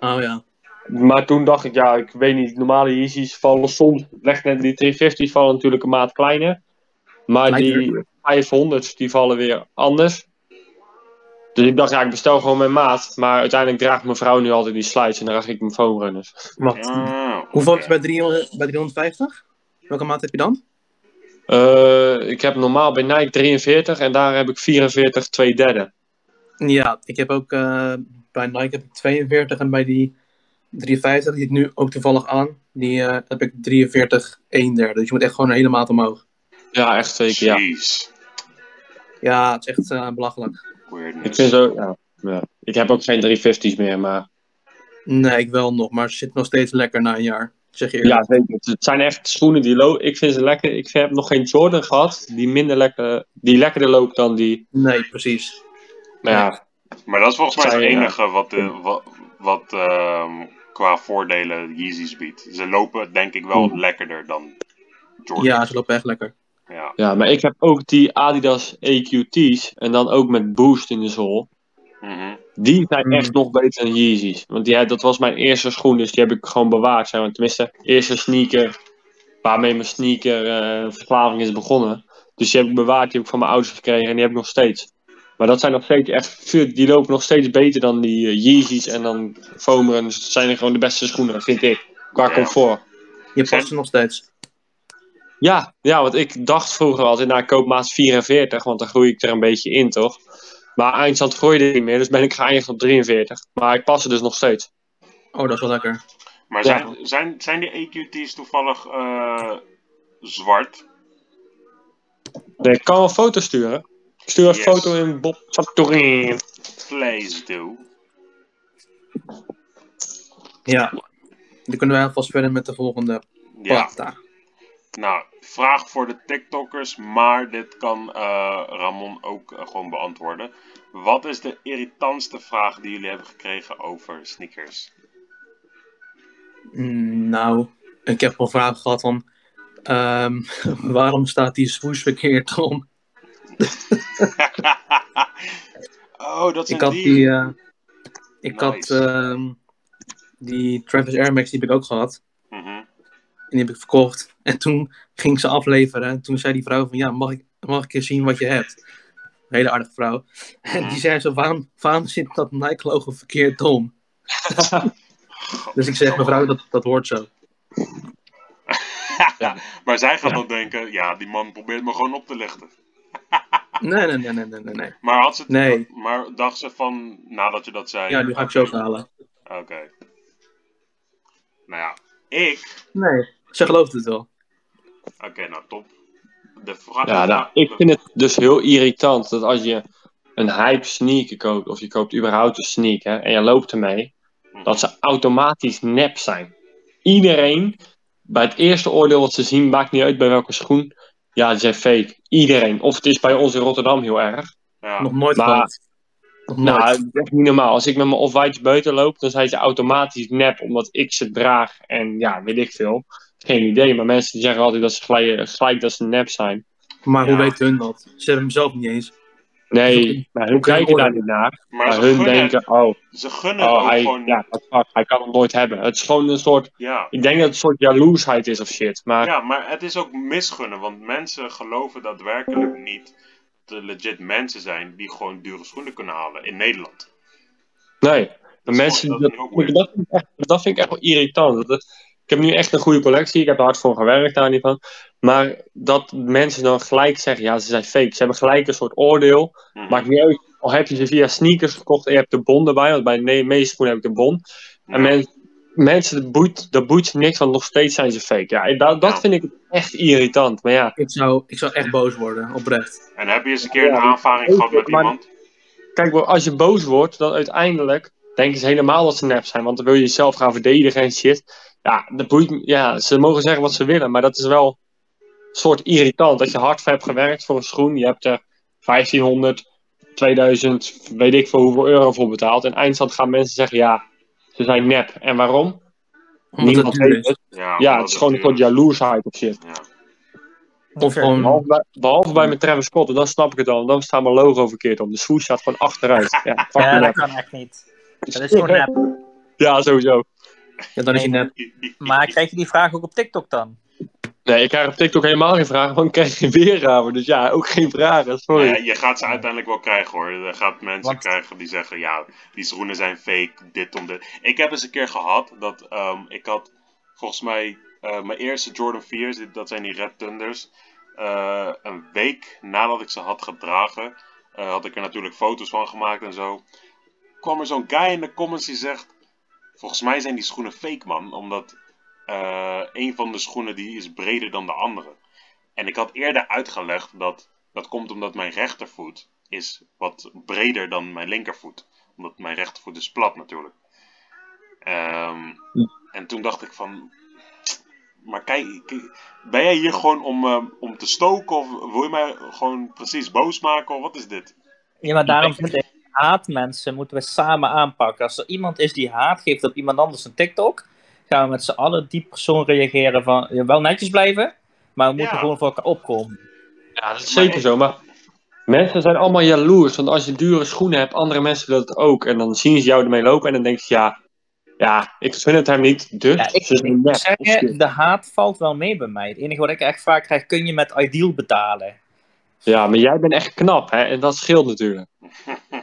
[SPEAKER 5] Oh ja.
[SPEAKER 3] Maar toen dacht ik, ja, ik weet niet. Normale Yeezys vallen soms. Leg net die 350's vallen natuurlijk een maat kleiner. Maar die
[SPEAKER 5] Kleiner.
[SPEAKER 3] 500's die vallen weer anders. Dus ik dacht, ja, ik bestel gewoon mijn maat. Maar uiteindelijk draagt mijn vrouw nu altijd die slides. En dan draag ik mijn foam runners.
[SPEAKER 5] Wacht.
[SPEAKER 2] Ah, oké.
[SPEAKER 5] Hoeveel heb je bij, 300, bij 350? Welke maat heb je dan?
[SPEAKER 3] Eh, ik heb normaal bij Nike 43 en daar heb ik 44 twee derde.
[SPEAKER 5] Ja, ik heb ook eh, bij Nike heb ik 42 en bij die 350, die ik nu ook toevallig aan, die eh, heb ik 43 1 derde. Dus je moet echt gewoon een hele maat omhoog.
[SPEAKER 3] Ja, echt zeker. Ja.
[SPEAKER 2] Jeez.
[SPEAKER 5] Ja, het is echt eh, belachelijk.
[SPEAKER 3] Ik,
[SPEAKER 2] Weirdness.
[SPEAKER 3] vind zo, ja, ja. ik heb ook geen 350's meer, maar
[SPEAKER 5] Nee, ik wel nog, maar ze zit nog steeds lekker na een jaar. Ik Zeg je eerlijk.
[SPEAKER 3] ja, zeker. Het- Het zijn echt schoenen die lopen. Ik vind ze lekker. Ik heb nog geen Jordan gehad die minder lekker, die lekkerder loopt dan die.
[SPEAKER 5] Nee, precies.
[SPEAKER 3] Nou ja,
[SPEAKER 2] Maar dat is volgens mij het
[SPEAKER 3] Zijn, ja.
[SPEAKER 2] enige wat, eh, wat, wat ehm, qua voordelen Yeezys biedt. Ze lopen denk ik wel lekkerder dan Jordan.
[SPEAKER 5] Ja, ze loopt echt lekker.
[SPEAKER 2] Ja.
[SPEAKER 3] ja, maar ik heb ook die Adidas EQT's en dan ook met Boost in de zool.
[SPEAKER 2] Mhm.
[SPEAKER 3] Die zijn
[SPEAKER 5] Mm.
[SPEAKER 3] echt nog beter dan Yeezys. Want die, dat was mijn eerste schoen, dus die heb ik gewoon bewaard. Zeg maar. Tenminste, eerste sneaker waarmee mijn sneaker eh, verslaving is begonnen. Dus die heb ik bewaard, die heb ik van mijn ouders gekregen en die heb ik nog steeds. Maar dat zijn nog steeds echt, veel- die lopen nog steeds beter dan die eh, Yeezys en dan Foameren. Dus dat zijn gewoon de beste schoenen, vind ik. Qua
[SPEAKER 2] Ja.
[SPEAKER 3] comfort.
[SPEAKER 5] Je past ze nog steeds.
[SPEAKER 3] Ja, ja, want ik dacht vroeger altijd, nou ik koop maat 44, want dan groei ik er een beetje in, toch? Maar eindstand groeide ik niet meer, dus ben ik geëindigd op 43. Maar ik pas er dus nog steeds.
[SPEAKER 5] Oh, dat is wel lekker.
[SPEAKER 2] Maar
[SPEAKER 3] Ja.
[SPEAKER 2] zijn, zijn, zijn die EQT's toevallig eh, zwart?
[SPEAKER 3] Nee, ik kan wel een foto sturen. Ik stuur een
[SPEAKER 2] Yes.
[SPEAKER 3] foto in Bob Santorin.
[SPEAKER 2] Please do.
[SPEAKER 5] Ja. Dan kunnen wij alvast verder met de volgende
[SPEAKER 2] Ja.
[SPEAKER 5] pasta.
[SPEAKER 2] Nou, vraag voor de TikTokkers, maar dit kan eh, Ramon ook eh, gewoon beantwoorden. Wat is de irritantste vraag die jullie hebben gekregen over sneakers?
[SPEAKER 5] Mm, Nou, ik heb wel vragen gehad van... ehm, waarom staat die swoosh verkeerd om?
[SPEAKER 2] oh, dat zijn
[SPEAKER 5] Ik had
[SPEAKER 2] die.
[SPEAKER 5] die. eh, ik
[SPEAKER 2] Nice.
[SPEAKER 5] had ehm, die Travis Air Max die heb ik ook gehad.
[SPEAKER 2] Mhm.
[SPEAKER 5] En die heb ik verkocht. En toen ging ik ze afleveren. En toen zei die vrouw van ja, mag ik, mag ik eens zien wat je hebt? Een hele aardige vrouw. En die zei zo, waarom, waarom zit dat Nike logo verkeerd om? dus ik zeg mevrouw, dat, dat hoort zo.
[SPEAKER 2] maar zij gaat dan denken, ja, die man probeert me gewoon op te lichten.
[SPEAKER 5] Nee, nee, nee, nee, nee, nee, nee.
[SPEAKER 2] Maar had ze
[SPEAKER 5] Nee.
[SPEAKER 2] maar dacht ze van, nadat je dat zei.
[SPEAKER 5] Ja, nu ga ik ze ook halen.
[SPEAKER 2] Oké. Nou ja, ik.
[SPEAKER 5] Nee, ze gelooft het wel.
[SPEAKER 2] Oké, nou top. De vraag.
[SPEAKER 3] Ja, nou,
[SPEAKER 2] de-
[SPEAKER 3] ik vind het dus heel irritant dat als je een hype sneaker koopt, of je koopt überhaupt een
[SPEAKER 2] Hm.
[SPEAKER 3] sneaker en je loopt ermee, dat ze automatisch nep zijn. Iedereen bij het eerste oordeel wat ze zien, maakt niet uit bij welke schoen. Ja, die zijn fake. Iedereen. Of het is bij ons in Rotterdam heel erg.
[SPEAKER 2] Ja.
[SPEAKER 5] Nog nooit
[SPEAKER 3] Maar-
[SPEAKER 5] gehad. Nog nooit.
[SPEAKER 3] Nou, dat is echt niet normaal. Als ik met mijn off-whites buiten loop, dan zijn ze automatisch nep, omdat ik ze draag. En ja, weet ik veel. Geen idee, maar mensen die zeggen altijd dat ze gelijk, gelijk dat ze nep zijn.
[SPEAKER 5] maar
[SPEAKER 2] ja.
[SPEAKER 5] hoe weet hun dat? Ze hebben hem zelf niet eens.
[SPEAKER 3] Nee, maar hun
[SPEAKER 5] kun je
[SPEAKER 3] kijken daar
[SPEAKER 5] oordelen?
[SPEAKER 3] niet naar.
[SPEAKER 2] Maar
[SPEAKER 3] Maar
[SPEAKER 2] ze
[SPEAKER 3] hun
[SPEAKER 2] gunnen, het-
[SPEAKER 3] denken, oh,
[SPEAKER 2] ze gunnen het
[SPEAKER 3] oh
[SPEAKER 2] ook
[SPEAKER 3] hij,
[SPEAKER 2] gewoon.
[SPEAKER 3] ja, wat fuck, hij kan het nooit hebben. Het is gewoon een soort,
[SPEAKER 2] ja.
[SPEAKER 3] ik denk dat het een soort jaloersheid is of shit. Maar
[SPEAKER 2] Ja, maar het is ook misgunnen, want mensen geloven daadwerkelijk niet dat er legit mensen zijn die gewoon dure schoenen kunnen halen in Nederland.
[SPEAKER 3] nee, de
[SPEAKER 2] Dat is
[SPEAKER 3] mensen,
[SPEAKER 2] gewoon-
[SPEAKER 3] dat,
[SPEAKER 2] dat is ook weird.
[SPEAKER 3] dat, vind ik echt, dat vind ik echt wel irritant. Dat, het- ik heb nu echt een goede collectie, ik heb er hard voor gewerkt daar niet van. Maar dat mensen dan gelijk zeggen, ja, ze zijn fake. Ze hebben gelijk een soort oordeel.
[SPEAKER 2] Mhm.
[SPEAKER 3] Maakt niet uit, al heb je ze via sneakers gekocht en je hebt de bon erbij, want bij de ne- meeste schoenen heb ik de bon. En
[SPEAKER 2] Hm. Ja.
[SPEAKER 3] men- mensen, dat boeit, dat boeit ze niks, want nog steeds zijn ze fake. Ja, en dat, dat vind ik echt irritant. Maar ja,
[SPEAKER 5] Ik zou, ik zou echt boos worden, oprecht.
[SPEAKER 2] En heb je eens een keer een
[SPEAKER 3] Ja,
[SPEAKER 2] aanvaring
[SPEAKER 3] ook,
[SPEAKER 2] gehad met
[SPEAKER 3] maar-
[SPEAKER 2] iemand?
[SPEAKER 3] kijk, wel, als je boos wordt, dan uiteindelijk denken ze helemaal dat ze nep zijn. Want dan wil je jezelf gaan verdedigen en shit. Ja, dat boeit, me- ja, ze mogen zeggen wat ze willen, maar dat is wel een soort irritant. Dat je hard voor hebt gewerkt voor een schoen. Je hebt er 1500, 2000, weet ik veel hoeveel euro voor betaald. En eindstand gaan mensen zeggen, ja, ze zijn nep. En waarom?
[SPEAKER 5] Omdat het
[SPEAKER 3] Niemand
[SPEAKER 5] duur
[SPEAKER 3] weet
[SPEAKER 5] is.
[SPEAKER 3] het.
[SPEAKER 2] Ja,
[SPEAKER 3] Ja,
[SPEAKER 2] omdat
[SPEAKER 3] het is gewoon een
[SPEAKER 2] duur
[SPEAKER 3] soort jaloersheid op shit.
[SPEAKER 2] Ja.
[SPEAKER 5] Of gewoon,
[SPEAKER 3] Behalve bij, behalve bij mijn Travis Scott, en dan snap ik het al. En dan staat mijn logo verkeerd om. De swoosh staat gewoon achteruit. Ja, fuck
[SPEAKER 1] Ja,
[SPEAKER 3] me
[SPEAKER 1] dat
[SPEAKER 3] nep.
[SPEAKER 1] kan echt niet. Dat is gewoon nep.
[SPEAKER 3] ja, sowieso.
[SPEAKER 5] ja, dan is je nep.
[SPEAKER 1] Maar krijg je die vraag ook op TikTok dan?
[SPEAKER 3] Nee, ik krijg op TikTok helemaal geen vragen, want ik krijg geen weergave. Dus ja, ook geen vragen, sorry.
[SPEAKER 2] Ja, je gaat ze uiteindelijk wel krijgen hoor. Je gaat mensen
[SPEAKER 1] Want-
[SPEAKER 2] krijgen die zeggen, ja, die schoenen zijn fake, dit om dit. Ik heb eens een keer gehad dat ehm, ik had volgens mij eh, mijn eerste Jordan 4's, dit- dat zijn die Red Thunders. eh, een week nadat ik ze had gedragen, eh, had ik er natuurlijk foto's van gemaakt en zo. Kwam er zo'n guy in de comments die zegt, volgens mij zijn die schoenen fake man, omdat eh, een van de schoenen die is breder dan de andere. En ik had eerder uitgelegd dat dat komt omdat mijn rechtervoet is wat breder dan mijn linkervoet. Omdat mijn rechtervoet is plat natuurlijk. Ehm, en toen dacht ik van... Maar kijk, k- ben jij hier gewoon om, eh, om te stoken? Of wil je mij gewoon precies boos maken? Of wat is dit?
[SPEAKER 1] Ja, maar daarom vind ik, haatmensen moeten we samen aanpakken. Als er iemand is die haat geeft op iemand anders een TikTok, gaan we met z'n allen die persoon reageren van, ja, wel netjes blijven, maar we moeten
[SPEAKER 2] Ja.
[SPEAKER 1] gewoon voor elkaar opkomen.
[SPEAKER 3] Ja, dat is
[SPEAKER 2] Maar
[SPEAKER 3] zeker
[SPEAKER 2] ik-
[SPEAKER 3] zo, maar mensen zijn allemaal jaloers. Want als je dure schoenen hebt, andere mensen willen het ook. En dan zien ze jou ermee lopen en dan denk je, ja, ja ik gun het hem niet, dus
[SPEAKER 1] Ja, ik
[SPEAKER 3] ze zijn
[SPEAKER 1] moet
[SPEAKER 3] nep. Dus- of shit.
[SPEAKER 1] zeggen, de haat valt wel mee bij mij. Het enige wat ik echt vaak krijg, kun je met Ideal betalen?
[SPEAKER 3] Ja, maar jij bent echt knap, hè, en dat scheelt natuurlijk.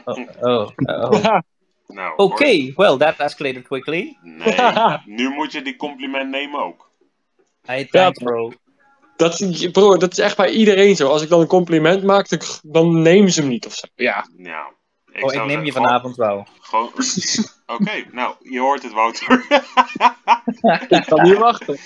[SPEAKER 1] Oh, oh, oh.
[SPEAKER 2] Nou,
[SPEAKER 1] Oké,
[SPEAKER 2] hoor.
[SPEAKER 1] well, that escalated quickly.
[SPEAKER 2] Nee, nu moet je die compliment nemen ook.
[SPEAKER 1] Hey,
[SPEAKER 3] Ja,
[SPEAKER 1] thanks, bro. Oh,
[SPEAKER 3] Dat, is- broer, dat is echt bij iedereen zo. Als ik dan een compliment maak, dan, dan nemen ze hem niet of zo. Ja,
[SPEAKER 2] Nou, ik,
[SPEAKER 1] Oh, ik
[SPEAKER 2] zou
[SPEAKER 1] neem je
[SPEAKER 2] zeggen, gewoon-
[SPEAKER 1] vanavond wel.
[SPEAKER 2] gewoon- Oké, nou, je hoort het, Wouter.
[SPEAKER 3] ik kan niet wachten.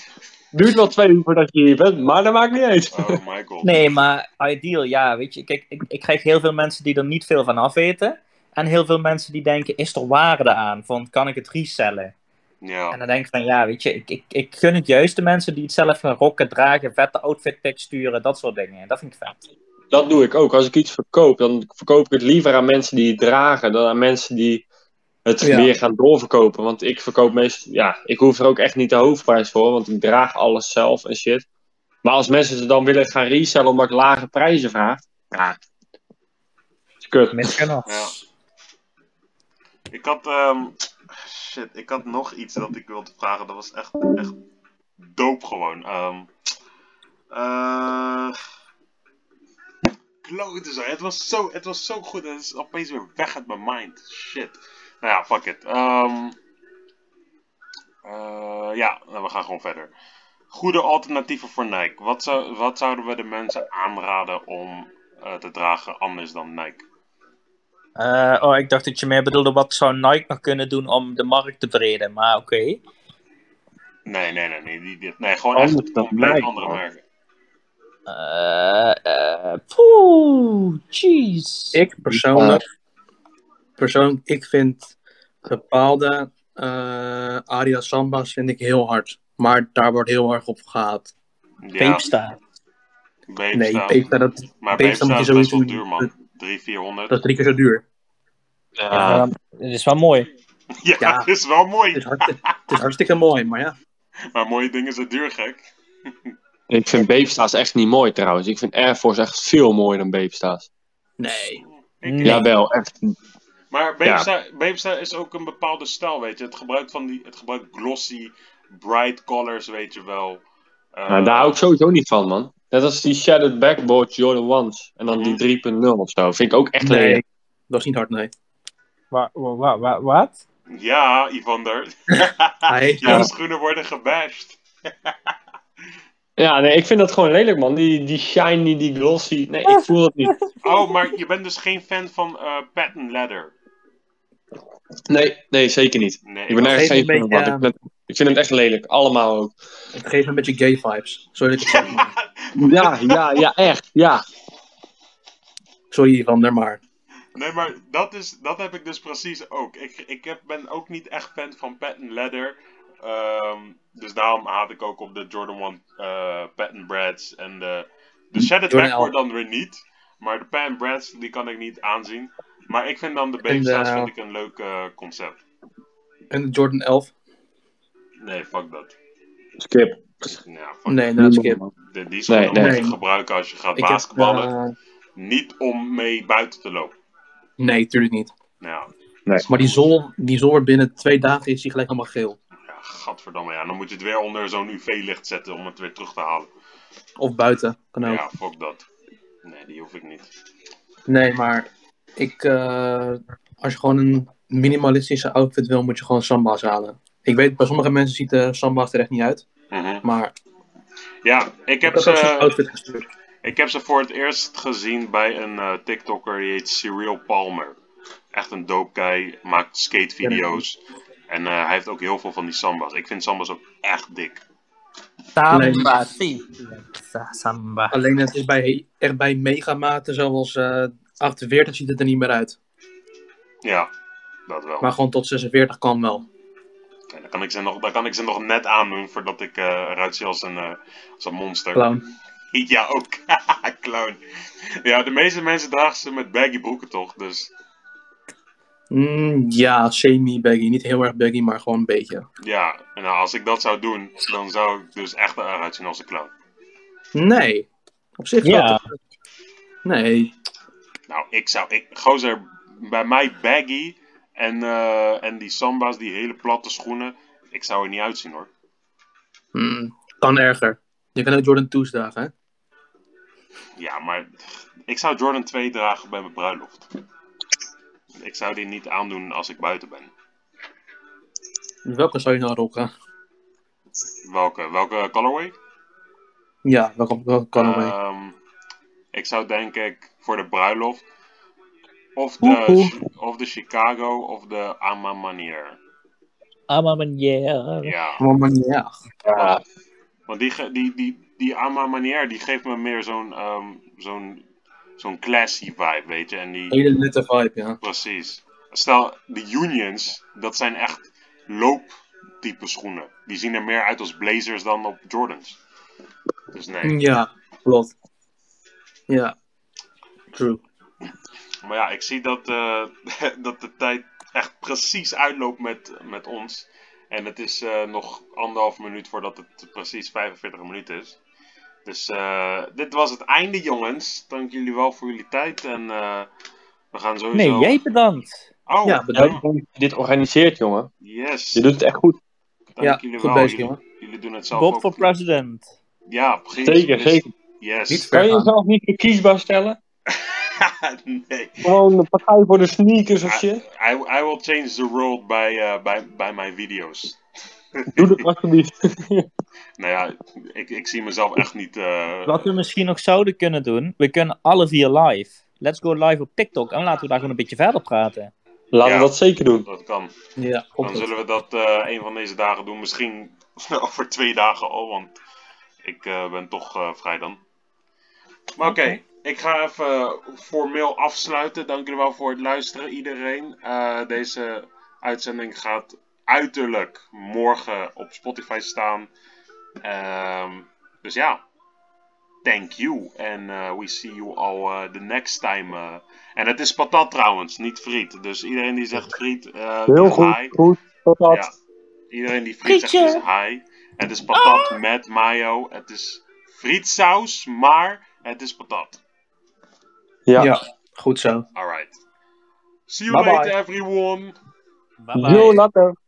[SPEAKER 3] Duurt wel twee uur voordat je hier bent, maar dat maakt niet uit.
[SPEAKER 2] oh my god.
[SPEAKER 1] Nee, maar ideal, ja, weet je. Kijk, ik, ik krijg heel veel mensen die er niet veel van af weten. En heel veel mensen die denken, is er waarde aan? Van, kan ik het resellen?
[SPEAKER 2] Ja.
[SPEAKER 1] En dan denk ik van, ja, weet je, ik, ik, ik gun het juist de mensen die het zelf gaan rocken, dragen, vette outfit pics sturen, dat soort dingen. Dat vind ik vet.
[SPEAKER 3] Dat doe ik ook. Als ik iets verkoop, dan verkoop ik het liever aan mensen die het dragen dan aan mensen die het
[SPEAKER 5] Ja.
[SPEAKER 3] weer gaan doorverkopen. Want ik verkoop meestal, ja, ik hoef er ook echt niet de hoofdprijs voor, want ik draag alles zelf en shit. Maar als mensen ze dan willen gaan resellen omdat ik lage prijzen vraag, ja, is kut.
[SPEAKER 1] Misgenot.
[SPEAKER 2] Ik had, ehm, shit, ik had nog iets dat ik wilde vragen. Dat was echt, echt doop gewoon. Ehm eh, klote zo. Het was zo, het was zo goed. Het is opeens weer weg uit mijn mind. Shit. Nou ja, fuck it. Ehm, eh, ja, nou, we gaan gewoon verder. Goede alternatieven voor Nike. Wat, zou, wat zouden we de mensen aanraden om eh, te dragen anders dan Nike?
[SPEAKER 1] Eh, oh, ik dacht dat je meer bedoelde, wat zou Nike nog kunnen doen om de markt te verbreden? Maar oké.
[SPEAKER 2] Nee, nee, nee. Nee, die, die- nee gewoon
[SPEAKER 3] Anders
[SPEAKER 2] echt
[SPEAKER 3] dan oh.
[SPEAKER 2] compleet
[SPEAKER 3] Nike,
[SPEAKER 2] andere
[SPEAKER 3] man.
[SPEAKER 2] merken.
[SPEAKER 1] Eh, eh, poeh, jeez.
[SPEAKER 5] Ik persoonlijk, persoonlijk, ik vind bepaalde eh Aria Sambas vind ik heel hard. Maar daar wordt heel erg op gehaat.
[SPEAKER 2] Ja,
[SPEAKER 1] Peepsta.
[SPEAKER 2] Beepsta.
[SPEAKER 5] Nee, Peepsta, dat,
[SPEAKER 2] maar
[SPEAKER 5] Beepsta
[SPEAKER 2] Beepsta
[SPEAKER 5] moet
[SPEAKER 2] is
[SPEAKER 5] je
[SPEAKER 2] best
[SPEAKER 5] sowieso
[SPEAKER 2] wel
[SPEAKER 5] niet-
[SPEAKER 2] duur,
[SPEAKER 5] dat-
[SPEAKER 2] man. 3, 400.
[SPEAKER 5] dat is drie keer zo duur.
[SPEAKER 1] Ja, maar het is wel mooi.
[SPEAKER 2] ja,
[SPEAKER 5] ja. Dus-
[SPEAKER 2] dat is wel
[SPEAKER 5] Het is,
[SPEAKER 2] mooi.
[SPEAKER 5] hart- het is hartstikke mooi, maar ja.
[SPEAKER 2] Maar mooie dingen zijn duur, gek.
[SPEAKER 3] Ik vind Beefsta's echt niet mooi trouwens. Ik vind Air Force echt veel mooier dan Beefsta's.
[SPEAKER 5] Nee.
[SPEAKER 2] Ik-
[SPEAKER 5] Mm.
[SPEAKER 1] Nee.
[SPEAKER 3] Jawel, echt.
[SPEAKER 2] Maar Beepsta, Beepsta is ook een bepaalde stijl, weet je. Het gebruik van die, het gebruik glossy, bright colors, weet je wel. Eh,
[SPEAKER 3] Nou, daar hou ik sowieso niet van, man. Net als die Shadowed Backboard Jordan Ones. En dan die 3.0 of zo. Vind ik ook echt
[SPEAKER 5] Nee.
[SPEAKER 3] lelijk.
[SPEAKER 5] Dat is niet hard, nee.
[SPEAKER 7] Wa- wa- wa- wa- Wat?
[SPEAKER 2] Ja, Ivander. Ah,
[SPEAKER 5] Hij-
[SPEAKER 2] Jouw schoenen worden gebashed.
[SPEAKER 3] Ja, nee, ik vind dat gewoon lelijk, man. Die, die shiny, die glossy. Nee, ik voel het niet.
[SPEAKER 2] Oh, maar je bent dus geen fan van eh patent leather.
[SPEAKER 3] Nee, nee, zeker niet.
[SPEAKER 2] Nee,
[SPEAKER 3] Ik ben
[SPEAKER 5] Geef
[SPEAKER 3] ergens
[SPEAKER 5] me
[SPEAKER 3] geen
[SPEAKER 5] een
[SPEAKER 3] fan van.
[SPEAKER 5] beetje,
[SPEAKER 3] Ik, vind het- ik vind het echt lelijk. Allemaal ook.
[SPEAKER 5] Het geeft me een beetje gay vibes. Sorry dat ik het zeg, maar.
[SPEAKER 3] Ja, ja, ja, echt. Ja.
[SPEAKER 5] Sorry, Ivander, maar...
[SPEAKER 2] Nee, maar dat, is, dat heb ik dus precies ook. Ik, ik heb, ben ook niet echt fan van patent leather. Ehm, dus daarom haat ik ook op de Jordan 1 eh patent brads. En de, de Shaded
[SPEAKER 5] Hm, Jordan
[SPEAKER 2] Backward dan weer niet. Maar de patent brads, die kan ik niet aanzien. Maar ik vind dan de
[SPEAKER 5] En de-
[SPEAKER 2] Babesta's vind ik een leuk eh, concept.
[SPEAKER 5] En de Jordan 11?
[SPEAKER 2] Nee, fuck dat. Nou
[SPEAKER 3] Skip.
[SPEAKER 2] Ja, fuck
[SPEAKER 5] Nee, dat skip.
[SPEAKER 2] De, die schoenen
[SPEAKER 3] nee.
[SPEAKER 2] moet je
[SPEAKER 5] Nee.
[SPEAKER 2] gebruiken als je gaat
[SPEAKER 5] Ik heb,
[SPEAKER 2] basketballen.
[SPEAKER 5] eh,
[SPEAKER 2] Niet om mee buiten te lopen.
[SPEAKER 5] nee, tuurlijk niet.
[SPEAKER 2] Nou,
[SPEAKER 3] Nee.
[SPEAKER 5] Maar die zol, die zol wordt binnen twee dagen is die gelijk helemaal geel.
[SPEAKER 2] ja, gadverdamme. Ja, dan moet je het weer onder zo'n UV-licht zetten om het weer terug te halen.
[SPEAKER 5] Of buiten, kan ook.
[SPEAKER 2] Ja, fuck dat. Nee, die hoef ik niet.
[SPEAKER 5] Nee, maar ik, eh, als je gewoon een minimalistische outfit wil, moet je gewoon samba's halen. Ik weet, bij sommige mensen ziet de samba's er echt niet uit.
[SPEAKER 2] Mhm.
[SPEAKER 5] Maar
[SPEAKER 2] Ja, ik
[SPEAKER 5] ik
[SPEAKER 2] heb,
[SPEAKER 5] heb ook zo'n
[SPEAKER 2] ze,
[SPEAKER 5] outfit gestuurd.
[SPEAKER 2] ik heb ze voor het eerst gezien bij een eh, TikToker die heet Cyril Palmer. Echt een dope guy, maakt skatevideo's. En eh, hij heeft ook heel veel van die samba's. Ik vind samba's ook echt dik.
[SPEAKER 5] Samba,
[SPEAKER 1] zie. Samba.
[SPEAKER 5] Alleen het is bij, echt bij megamaten zoals eh 48 ziet het er niet meer uit.
[SPEAKER 2] Ja, dat wel.
[SPEAKER 5] Maar gewoon tot 46 kan wel.
[SPEAKER 2] En dan, kan ik ze nog, dan kan ik ze nog net aandoen voordat ik eh eruit zie als een, eh, als een monster.
[SPEAKER 5] Clown.
[SPEAKER 2] Ja, ook. Clown. Ja, de meeste mensen dragen ze met baggy broeken toch? Dus
[SPEAKER 5] Mm, ja, semi-baggy. Niet heel erg baggy, maar gewoon een beetje.
[SPEAKER 2] Ja, en nou, als ik dat zou doen, dan zou ik dus echt eruit zien als een clown.
[SPEAKER 5] Nee, op zich wel.
[SPEAKER 1] Ja.
[SPEAKER 5] Nee,
[SPEAKER 2] Nou, ik zou, ik, gozer, bij mij baggy en, eh, en die samba's, die hele platte schoenen, ik zou er niet uitzien hoor.
[SPEAKER 5] mm, kan erger. Je kan ook Jordan 2's dragen, hè?
[SPEAKER 2] Ja, maar ik zou Jordan 2 dragen bij mijn bruiloft. Ik zou die niet aandoen als ik buiten ben.
[SPEAKER 5] Welke zou je nou rocken?
[SPEAKER 2] Welke? Welke colorway?
[SPEAKER 5] Ja, welke, welke kan er mee?
[SPEAKER 2] Ehm, ik zou denk ik voor de bruiloft of
[SPEAKER 5] Oeh,
[SPEAKER 2] de, of de Chicago of de Ama Manier.
[SPEAKER 1] Ama manier.
[SPEAKER 2] Ja.
[SPEAKER 5] Maar ja.
[SPEAKER 3] Ja,
[SPEAKER 2] Want die, ge- die, die, die Ama Manier die geeft me meer zo'n ehm, zo'n zo'n classy vibe, weet je. En die,
[SPEAKER 5] Hele nette vibe, ja.
[SPEAKER 2] precies. Stel, de Unions, dat zijn echt looptype schoenen. Die zien er meer uit als Blazers dan op Jordans. Dus nee.
[SPEAKER 5] Ja, klopt. Ja. True.
[SPEAKER 2] Maar ja, ik zie dat, eh, dat de tijd echt precies uitloopt met, met ons. En het is eh, nog anderhalf minuut voordat het precies 45 minuten is. Dus eh, dit was het einde, jongens. Dank jullie wel voor jullie tijd. En eh, we gaan sowieso.
[SPEAKER 1] Nee, jij bedankt.
[SPEAKER 2] Oh,
[SPEAKER 5] Ja,
[SPEAKER 3] bedankt dat je dit organiseert, jongen.
[SPEAKER 2] Yes.
[SPEAKER 3] Je doet het echt goed.
[SPEAKER 2] Dank
[SPEAKER 5] Ja,
[SPEAKER 2] jullie
[SPEAKER 5] goed
[SPEAKER 2] wel.
[SPEAKER 5] bezig,
[SPEAKER 2] jullie,
[SPEAKER 5] jongen.
[SPEAKER 2] jullie doen het zelf.
[SPEAKER 1] Bob
[SPEAKER 2] ook
[SPEAKER 1] voor
[SPEAKER 2] goed.
[SPEAKER 1] president.
[SPEAKER 2] Ja, precies.
[SPEAKER 3] Zeker,
[SPEAKER 2] Dus-
[SPEAKER 3] zeker.
[SPEAKER 5] Niet
[SPEAKER 2] Yes.
[SPEAKER 5] ver
[SPEAKER 3] Kan je
[SPEAKER 5] gaan.
[SPEAKER 3] jezelf niet verkiesbaar stellen?
[SPEAKER 2] nee.
[SPEAKER 3] Gewoon een partij voor de sneakers of shit?
[SPEAKER 2] I, I will change the world bij, eh, bij, bij mijn video's.
[SPEAKER 3] Doe dat alsjeblieft.
[SPEAKER 2] Nou ja, ik, ik zie mezelf echt niet. eh,
[SPEAKER 1] Wat we misschien nog zouden kunnen doen, we kunnen alle vier live. Let's go live op TikTok en laten we daar gewoon een beetje verder praten.
[SPEAKER 3] Laten
[SPEAKER 2] Ja.
[SPEAKER 3] we dat zeker doen.
[SPEAKER 2] Dat kan.
[SPEAKER 5] Ja,
[SPEAKER 2] Dan zullen we dat eh, een van deze dagen doen. Misschien over twee dagen al, want ik eh, ben toch eh, vrij dan. Maar oké, ik ga even formeel afsluiten. Dank jullie wel voor het luisteren, iedereen. Eh, deze uitzending gaat uiterlijk morgen op Spotify staan. Ehm, dus ja, thank you. En eh, we see you all eh, the next time. eh. En het is patat trouwens, niet friet. Dus iedereen die zegt friet, eh
[SPEAKER 3] Heel
[SPEAKER 2] is
[SPEAKER 3] goed,
[SPEAKER 2] hi.
[SPEAKER 3] goed. Tot dat.
[SPEAKER 2] Ja. Iedereen die friet zegt is hi. Het is patat met mayo. Het is frietsaus, maar het is patat.
[SPEAKER 3] Ja.
[SPEAKER 5] ja, goed zo.
[SPEAKER 2] Alright. See you
[SPEAKER 3] Bye-bye.
[SPEAKER 2] later everyone.
[SPEAKER 1] Bye bye.
[SPEAKER 3] Yo, later.